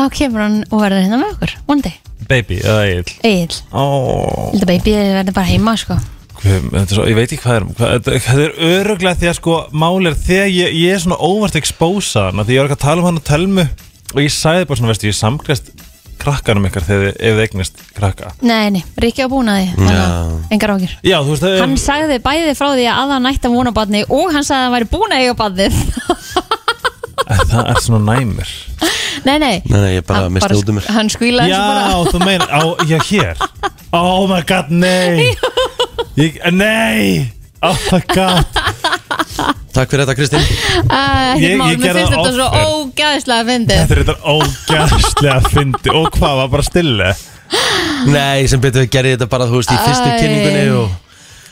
þá kemur hann og verður hérna með okkur one day,
Baby eða eil
Egil
Ó
Þetta baby verður bara heima sko
Guð, þetta er svo, ég veit ekki hvað er hvað, þetta- Þetta er öruglega því að sko Máli er þegar ég, ég er svona óvart expósa hana Því ég var ekki að tala um hann og tölmu Og ég sagði bara svona, veistu, ég samkvæmst krakkanum ykkar þegar þið- ef þið eignist krakka
Nei, nei, Rikki á búnaði þannig að engar ákjör
Já, þú veist,
Hann sagði bæði frá því að hann ætti að vona badni og hann sagði að hann væri búin að eiga badnið
það er svona næmir
[laughs] Nei, nei,
Nei, nei, ég
Ah,
bara misti út um mér
Hann skvílaði
Já,
þessu bara [laughs]
þú meina, á, já, hér Oh my god, nei ég, Nei Oh my god
Takk fyrir þetta Kristín
Æ, Ekkert
Ég-
mál,
ég
Ah, hérna, mér
gerði
finnst
það
þetta svo
oftar.
ógæðslega fyndið
Þetta er þetta ógæðslega fyndi Og hvað, var bara stille
Nei, sem betur við gerði þetta bara, þú veist, í fyrstu
Æ.
kynningunni og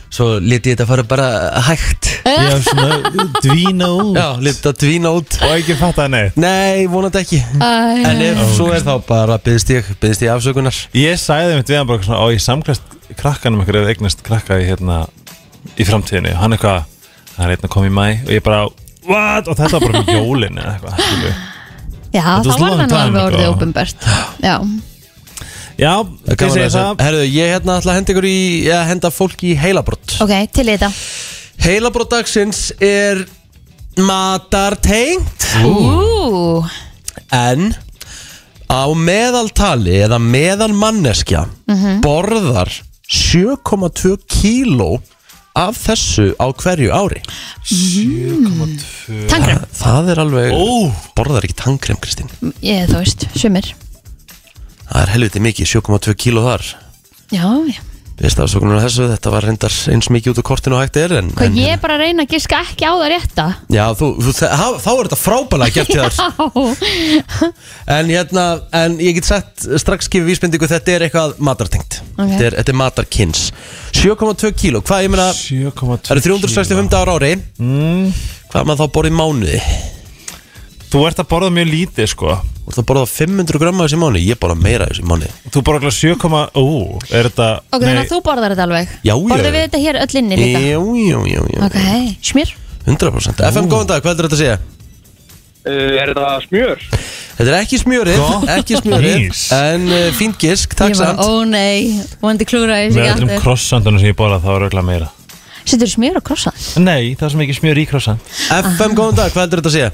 svo liti ég þetta fara bara hægt
Ég var svona dvína út
Já, liti þetta dvína út
Og ekki fatta það neitt
Nei, vonandi ekki
Æ,
En ef svo er þá bara byggðist ég, byggðist ég afsökunar
Ég sagði mitt við hann bara svona Ó, ég samkvæmst krakkanum ykkur Ef eignast krakka í hérna Í framtíðinni Og hann eitthvað Það er einn að koma í mæ Og ég bara What? Og þetta var bara um jólin eða eitthvað skilurðu.
Já, þá
var
var
long
hann
time
alveg
ago.
orðið ópenbært Já,
Já,
Það
þið
gaman
segir
að
það
það Herðu, ég hérna ætla að henda ykkur í að henda fólk í heilabrott
ok, til í þetta
Heilabrott dagsins er matartengt
Ú,
en á meðaltali eða meðal manneskja borðar 7,2 kíló af þessu á hverju ári
7,2
tangrem
Það er alveg
Ó.
borðar ekki tangrem Kristín
Ég, þú veist, sumir
Það er helviti mikið, 7,2 kíló þar
Já, já
Veist afsökunar af þessu, þetta var reyndar eins mikið út á kortinu og hægt er en, hérna. en,
Hvað ég er bara að reyna að giska ekki á það rétta
Já, þú, þú, það, þá er þetta frábælega gert til þar En hérna, en ég get sett strax gefið vísbendingu þetta er eitthvað matartengt
Ok.
þetta, er, þetta er matarkins 7,2 kíló, hvað ég meina
7,2
Það eru 365 dagar á ári mm. Hvað er maður þá borðið í mánuði?
Þú ert að borða mjög lítið sko
Þú ert að borða 500 gramma þessi mánuði? Ég borða meira þessi mánuði
Þú borða okkur 7, ú, er þetta
Ok, þannig að þú borðar þetta alveg
Já, já.
Borðum við þetta hér öll inni líka
Jú, jú, jú, jú
Ok, smjör
100% FM, góðan dag, hvað heldur þetta að segja?
Uh, er þetta smjör?
Þetta er ekki smjörið,
Gott.
ekki smjörið
Ís.
En uh, fín gisk, takk
Ég var,
samt
ó nei, vondi klúra þessi
Með
ekki
öllum
aftur
krossandunum sem ég borða þá er auðvitað meira
Sittur smjör og krossa
Nei, það er sem ekki smjör í krossand
FM, góðan dag, hvað heldur þetta að segja?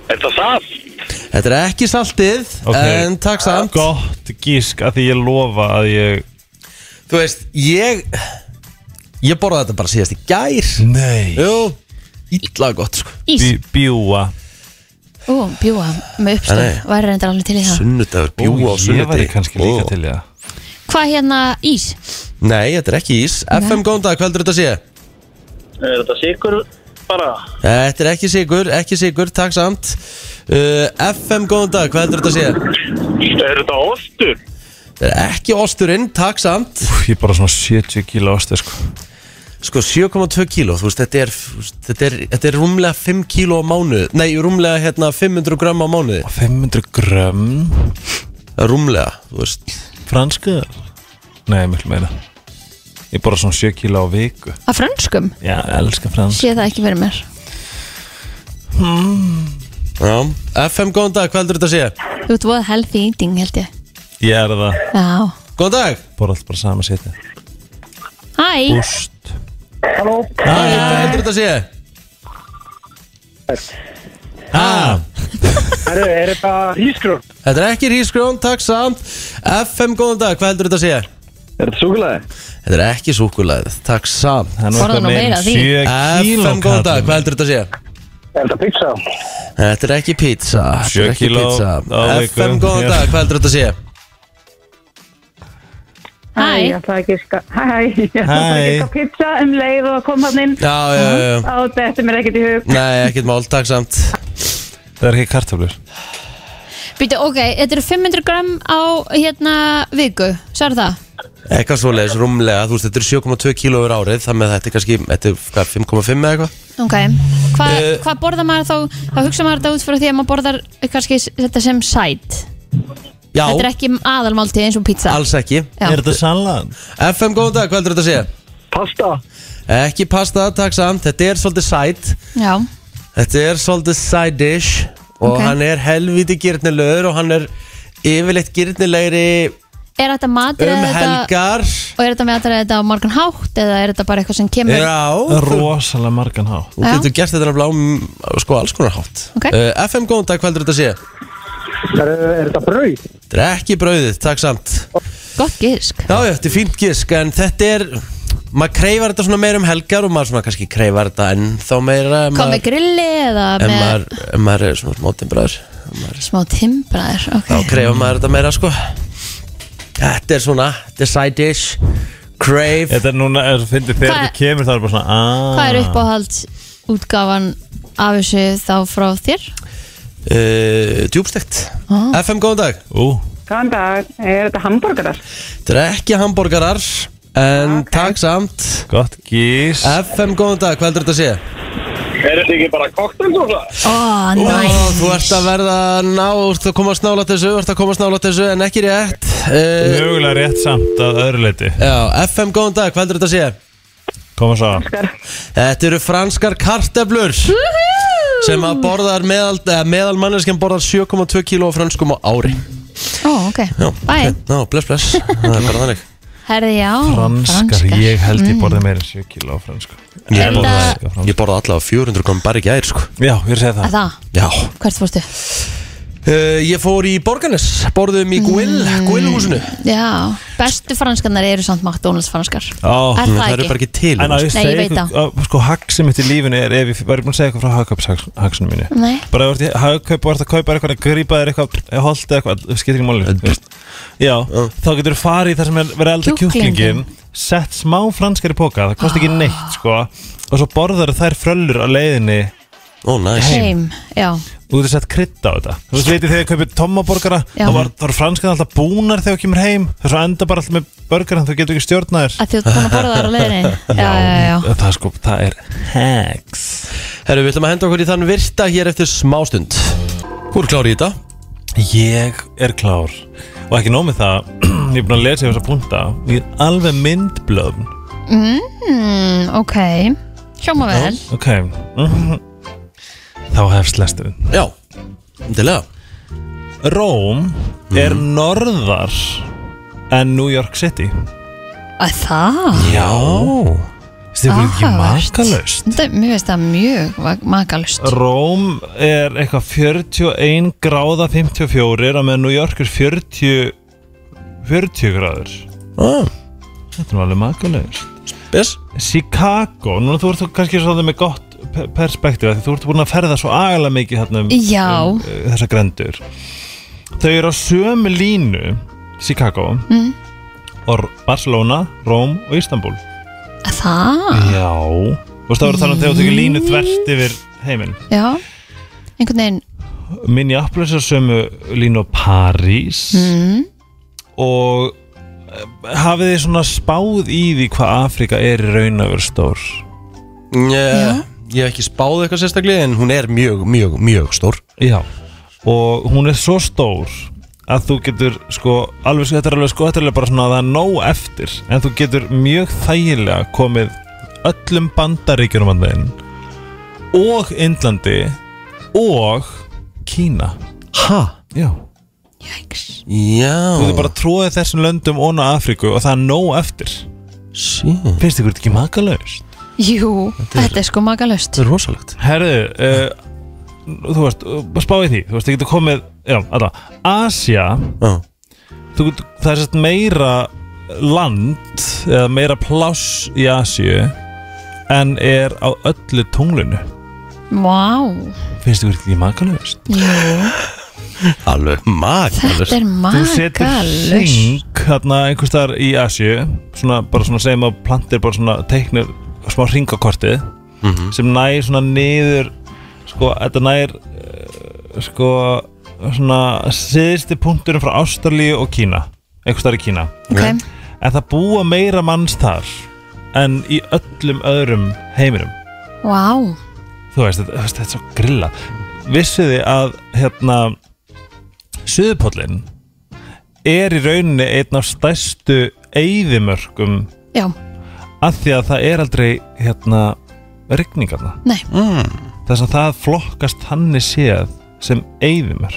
Er þetta saft?
Þetta er ekki saltið,
Ok.
en takk samt
Gott gísk að því ég lofa að ég
Þú veist, ég Ég borðaði þetta bara síðast í gær
Nei
Jú, illa gott sko
Ís,
Bjúa
ú, bjúa með
Nei.
uppstöð Væri reyndar alveg til í það
Sunnudagur, bjúa á
Ég væri
sunnudegi
kannski líka
Ó.
til í það
Hvað hérna ís?
Nei, þetta er ekki ís FM góðan dag, hvað heldur þetta að sé?
Er þetta sikur bara?
Þetta er ekki sigur, ekki sigur, takk samt uh, FM góðan dag, hvað heldur þetta að sé?
Er þetta ostur?
Þetta er ekki osturinn, takk samt
Úf, Ég borða svona 70 kíla ástu sko
Sko 7,2 kíló, þú veist, þetta er, þú veist, þetta er, þetta er rúmlega 5 kíló á mánuð Nei, rúmlega hérna 500 gram á mánuði
500 grömm
Eh, Rúmlega, þú veist
Fransku Nei, miklu meira Ég borða svona 7 kíla á viku
Af franskum?
Já, ég elska fransk
Sé það ekki verið mér
Já, FM góðan dag, hvað heldur þetta að sé?
Þú ert voða healthy eating held ég
Ég er það
Já
Góðan dag
Borða allt bara sama setið
Hæ,
Búst
Hæ, hvað heldur þetta að sé?
Ah,
Er þetta hískrón?
Þetta er ekki rísgrjón, takk samt FM, góðan dag, hvað heldur þetta að segja?
Er þetta súkulæði?
Þetta er ekki súkulæðið, takk samt
það er nú
Borða
eitthvað
nú
meira
meira
en
af því.
7 kíló
FM, góðan dag,
kallinn.
hvað heldur þetta að segja?
Er þetta pizza?
Þetta er ekki pizza, þetta
Sjö
er ekki
kíló
pizza
á viku.
FM, góðan dag, hvað heldur þetta að segja?
Hæ,
Hæ.
ég ætla að giska sko, Hæ, [laughs] ég ætla
Hæ.
að giska á pizza um leið og kom hann inn
Já, já, já, já
Á þetta mér ekkert í hug
Nei, ekkert mál, takk samt
Það er ekki kartöflur
býtu, ok, þetta eru 500 gram á hérna viku, svar það
Eitthvað svoleiðis, rúmlega, þú veist, þetta er 7,2 kíló yfir árið, þannig að þetta er kannski, þetta er hvað, 5,5 eða eitthvað
Ok, Hva,
Eh,
hvað borðar maður þá, þá hugsa maður þetta út frá því að maður borðar kannski s- þetta sem sæt
Já,
Þetta er ekki aðalmáltið eins og pizza
alls ekki
Já. Er
þetta salat?
FM, góðan dag, hvað heldur þetta að segja? Pasta Ekki pasta, takk samt, þetta er svolítið sæt
Já,
Þetta er svolítið side dish Og
Ok.
hann er helviti gyrnilegur Og hann er yfirleitt gyrnilegri
er þetta matur
um
eða þetta,
helgar
Og er þetta matur eða þetta á morgun hátt eða er þetta bara eitthvað sem kemur
Já, þú-
Rosalega margan há
þú
Já.
getur gert þetta nefnilega á mm, sko alls konar hátt
Ok.
Eh, FM, góðan dag, hvað heldur þetta að segja?
Er, er þetta brauð?
Þetta er ekki brauðið, takk samt
Gott gísk
Já, já, þetta er fínt gísk En þetta er, maður kreifar þetta svona meira um helgar Og maður svona kannski kreifar þetta ennþá meira ef
Kom með
maður-
grilli eða
En
með
maður, ef maður er svona smótinbræður
smá timbraðir
Þá
okay.
kreifar maður þetta meira sko Þetta er svona, þetta er side dish Crave
Þetta er núna, er, fyndi, þegar
Hvað-
þetta kemur það er bara svona "Ah." aaa
Hvað er uppáhalds útgáfan af þessu þá frá þér?
uh, Djúbstekt
Ah.
FM, góðan dag
Ú,
Góðan dag, er þetta hambúrgarar?
Þetta er ekki hambúrgarar En takk samt
gott gís
FM, góðan dag, hvað heldur þetta að segja?
Er þetta ekki bara kokteldósa?
Ó,
Ó, Þú
næs
ert að verða ná, þú ert að komast nála þessu, þú ert að komast nála þessu en ekki rétt uh,
Mögulega rétt samt að öðru leiti
Já, FM, góðan dag, hvað heldur þetta að segja?
Koma svo
Þetta eru franskar karteblur sem að borðar meðal, eh, meðal manneskjan borðar 7,2 kíló af franskum á ári
Ó, ok,
Já,
bæ
ok. Já, bless, bless, það er bara þannig
Herði, já
Franskar, ég held
Mm.
ég borði meira en 7 kíló af fransku
Er þetta-
Ég borða allavega 400 gram bara ekki æri, sko
Já, ég segi
Að
það
það,
Já
hvert fórstu?
uh, Ég fór í Borganes, borðum í Guill,
Mm.
Guillhúsinu
Já, bestu franskarnar eru samt McDonalds franskar
Ó,
Það
Er það
Mhm. eru
ekki?
bara ekki til hérna.
En að ég
Nei, ég
segi
veit
ykkur, að, sko, haksið mitt í lífinu er ef ég var ég búin að segja eitthvað frá hagkaupshagsunum mínu
Nei.
Bara ef þú ert í hagkaup og ert að kaupa þér eitthvað, grípa þér eitthvað, holda eitthvað, það skiptir ekki máli þú veist. Já, þá getur þú farið í það sem er verið elda
Kjúklinginn. Ah.
kjúklingin, sett smá franskar í póka, það kosti ekki neitt, sko, og svo borðar þær fröllur á leiðinni
Ó, næs
Heim, já
og þú getur sett krydd á þetta þú veist, veitir þegar ég kaupið tommaborgara
Já.
þá var, þá var franskan alltaf búnar þegar þú kemur heim þess að enda bara alltaf með borgaran þú getur ekki stjórnaðir
Að því þú ert búin að borða þar á leiðinni Já, já, já
það er sko, það er hacks
Herru, við ætlum að henda okkur í þann virta hér eftir smástund Hvor klári í þetta?
ég er klár og ekki nómið það, [clears throat] ég er búin að lesa yfir þessa punta og ég er alveg myndblöðn
Mm, Ok, sjóma vel
ok þá hefst lestuðin
Já, endilega
Róm er norðar en New York City
Að það
já þetta er ekki
Áhugavert.
makalöst
Þetta, mér finnst það mjög va- makalust
Róm er eitthvað 41 gráða 54 að með New York er 40 40 gráður
ah,
Þetta er nú alveg makalegust
Yes
Chicago, núna þú ert þú kannski svolítið með gott pe- perspektíf af því þú ert búin að ferða svo agalega mikið þarna um,
Já.
um uh, þessa grendur Þau eru á sömu línu Chicago mm. og Barcelona, Róm og Istanbul
Að það,
Já Þú veist það voru að tala um þegar þú tekur línu þvert yfir heiminn
já Einhvern veginn,
Minneapolis er sömu línu á París
Mm. hmm?
og eh, hafið þið svona spáð í því hvað Afrika er í raun að vera stór
Ég, ég hef ekki spáð eitthvað sérstaklega en hún er mjög, mjög, mjög stór
Já og hún er svo stór að þú getur sko alveg sko þetta er alveg sko þetta er alveg bara svona að það er nóg eftir en þú getur mjög þægilega komið öllum bandaríkjunum að þeim og Indlandi og Kína
Hæ?
Já
jæks
Þú
Já
getur bara tróðið þessum löndum óna Afríku og það er nóg eftir
Sí Þetta
Finnst ykkur þetta ekki makalaust?
Jú, þetta er sko makalust
er rosalegt
Herðu, uh, þú veist, uh, spáði því Þú veist, þið getur komið, já, alltaf Asja,
Já
þú getur, það er sett meira land eða meira pláss í Asju en er á öllu tunglinu
Vá,
Finnst ykkur þetta ekki makalaust?
Alveg makalust
þetta er
Þú setur
makalust
hring hérna einhvers staðar í Asju svona, bara svona segjum að plantir bara svona teiknir smá hringakortið sem nær svona niður sko, þetta nær uh, sko, svona síðusti punkturinn frá Ástralíu og Kína einhvers staðar í Kína
Ok,
að það búa meira manns þar en í öllum öðrum heiminum
Vá,
þú veist, þetta, þú veist, þetta er svo grilla vissuði að hérna Suðupóllin er í rauninni einn af stærstu eyðimörkum
já,
af því að það er aldrei hérna rigningarna
nei,
þess að það flokkast þannig séð sem eyðimör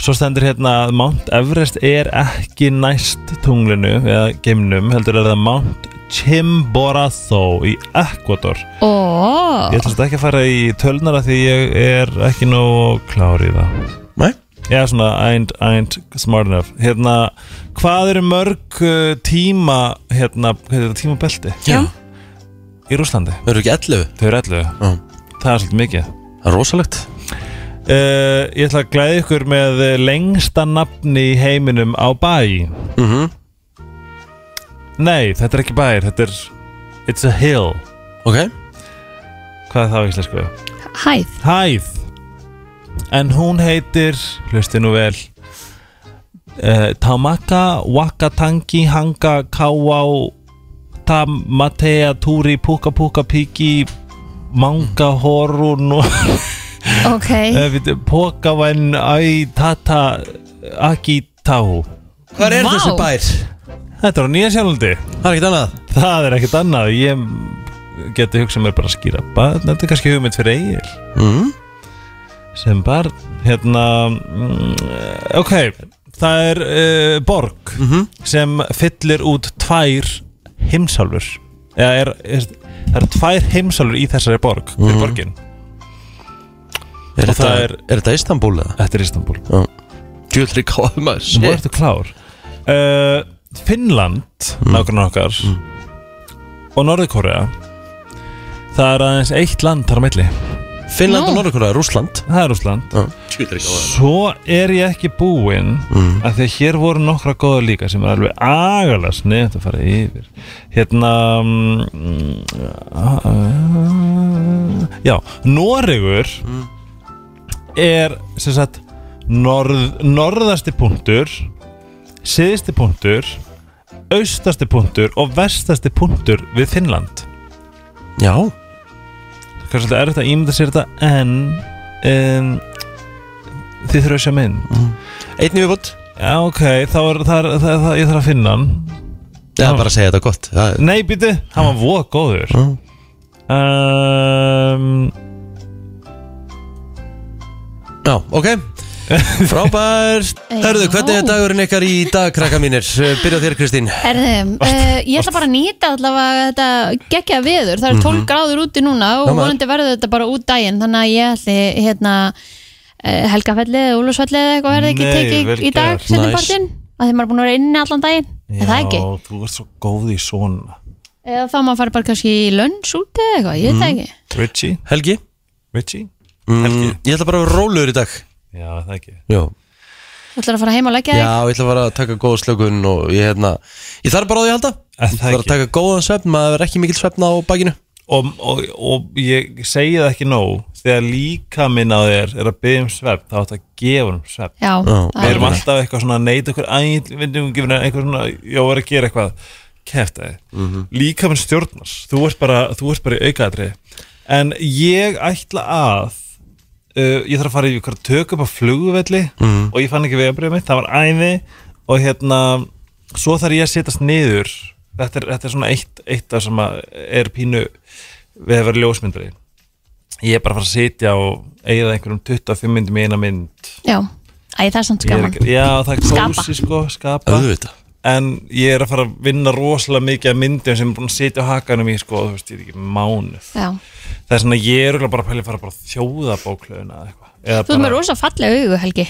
svo stendur hérna að Mount Everest er ekki næst tunglinu eða geimnum, heldur er það Mount Chimborazo í Ecuador
ó Ah.
ég ætla þetta ekki að fara í tölnara því ég er ekki nóg klár í það
Nei
Já, svona, ain't, ain't smart enough Hérna, hvað eru mörg uh, tíma, hérna, hérna tímabelti
Já.
í Rúslandi?
Við erum ekki 11
Þau eru 11
Já.
Það er svolítið mikið
Það er rosalegt
uh, Ég ætla að glæði ykkur með eh, lengsta nafni í heiminum á bæ
mm
Mhm. Nei, þetta er ekki bæir, þetta er It's a hill
Ok
Hvað er það á íslensku?
Hæð,
Hæð En hún heitir, hlusti nú vel uh, Tamaka Wakatangi Hanga Kawau Tamatea Turi Puka Puka Piki Manga Horu Nú
ok
Eh, Pokawen Ai Tata Aki Tahu
Hvað er
Vá.
þessi bær?
Þetta er á Nýja Sjálandi
Það er ekkert annað
Það er ekkert annað Ég geti hugsað mér bara að skýra barn Þetta er kannski hugmynd fyrir eigil
mm.
Sem barn Hérna mm, Ok Það er uh, borg
Mhm.
Sem fyllir út tvær heimsálfur Eða er, er Það eru tvær heimsálfur í þessari borg Fyrir
Mhm.
borgin
er,
Og
þetta,
það
er...
er-
þetta Istanbul eða?
Þetta er Istanbul
Djöldri káðum maður
Nú
Shit.
ertu klár uh, Finnland, mm. nákvæmna okkar Og Norðurkórea Það er aðeins eitt land þar á milli
Finnland og
Nú.
Norðurkóra, Rúsland
Það er Úsland
Djöldri
Svo er ég ekki búinn
Mm.
af Því að hér voru nokkra góða líka sem er alveg agalega sniðt að fara yfir Hérna mm, uh, Já, Noregur er sem sagt norð, norðasti punktur siðisti punktur austasti punktur og vestasti punktur við Finnland
Já
kannski svolítið erfitt að ímynda sér þetta en um, þið þurfa að sjá mynd
Mm. Einn í viðbútt
Já, ok, þá er, það, er, það, það, ég þarf að finna hann
Já, bara að segja þetta gott Það
Nei, býtu, hann var voða góður
Mm.
um,
Já, [laughs] ok Frábært Hörðu, hvernig er dagurinn ykkar í dag, krakka mínir? Eh, Byrja á þér, Kristín
Erðum, uh, ég ætla bara að nýta allavega þetta geggja viður, það er
Mhm.
12 gráður úti núna og
Já, maður.
vonandi verður þetta bara út daginn þannig að ég ætli hérna eh, Helgafellið eða Úlfsfellið eða eitthvað verði ekki
Nei, vel
tekið í dag
gert.
seinni
Nice.
partinn, að þeim maður búin að vera inni allan daginn, er það ekki?
þú ert svo góð í svona
Eða þá maður fari bara kannski í lönns út eða eitthvað, ég veit
Mhm.
það ekki
Richie,
Helgi?
Richie
Mm, ég ætla bara að vera rólegur í dag
Já, það ekki
Já,
Þú ætlar að fara heim og leggja þig?
Já, ég ætla að vera að taka góða slökun og ég, hérna, ég þarf bara á því að halda
það
Ég þarf að
ekki.
taka góðan svefn, maður er ekki mikil svefn á bakinu
og, og, og ég segi það ekki nóg Þegar líka minn á þér er að byggja um svepp þá átt að gefa um svepp
Já, það
Við
er
erum
Algjörlega.
alltaf eitthvað svona að neyta okkur æ, við erum gefin eitthvað svona, já, var að gera eitthvað kæftæði, mm -hmm. líka með stjórnars þú ert bara, þú ert bara í aukaðri en ég ætla að uh, ég þarf að fara í ykkur tök upp á flugvelli og ég fann ekki vegabrið mitt, það var æði og hérna, svo þarf ég að setjast niður þetta er, þetta er svona eitt, eitt af sem að er pínu við að vera ljósmyndari ég er bara að fara að setja og eigða einhverjum 25 myndum í eina mynd
Já, Æ, það er samt
Ég er
gaman
ekki- Já, það er
Skapa.
kósi sko, skapa
Auðvitað
En ég er að fara að vinna rosalega mikið af myndum sem er búin að sitja á hakanum í sko, þú veist, ég er ekki mánuð
Já.
Það er svona, ég er örugglega bara að pæla í að fara bara þjóðabóklöðuna eða eitthvað Eða
Þú er með
bara,
rosa fallega augu, Helgi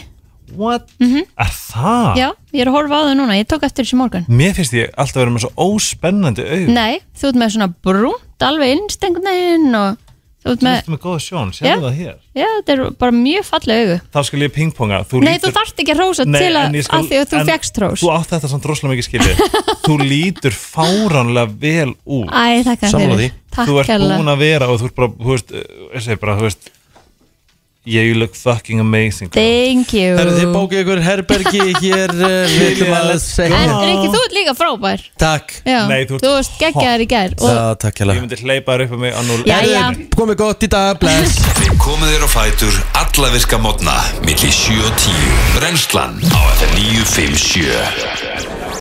what? Er það?
Já, ég er að horfa á þau núna, ég tók eftir þessi morgun
Mér finnst ég alltaf vera með svo óspennandi auð
Nei, þú ert með svona brúnt alveg innst einhvern veginn og þú ert
Þú
með,
veist með góða sjón,
Já.
sérðu það hér
já þetta er bara mjög fallega augu
Þá skal ég pingponga þú
Nei, þú
lítur-
þarft ekki að rósa
Nei,
til
en
að,
ég skal-
að því að þú
en
fegst rós
Þú átt þetta samt rosalega mikið skilið Þú lítur fáránlega vel út
Æ, þakka
Sammála
þér
því.
fyrir, takk
þú ert
hérlega.
búin að vera og þú ert bara, þú veist, ég segi bara, þú veist Yeah, you look fucking amazing
Thank you
Herðu þið bókið ykkur herbergi hér eh, Við ætlum að segja
En Rikki, þú ert líka frábær
Takk
Já,
Nei,
þú
þú ert
varst geggjaðar í gær og,
Já, takk
Ég
hérlega
myndi hleypa þér upp um mig á núl
Já, já,
Komið gott í dag, bless
Við komum þér á fætur alla virka mótna millir 7 og 10 Brennslan á FM 957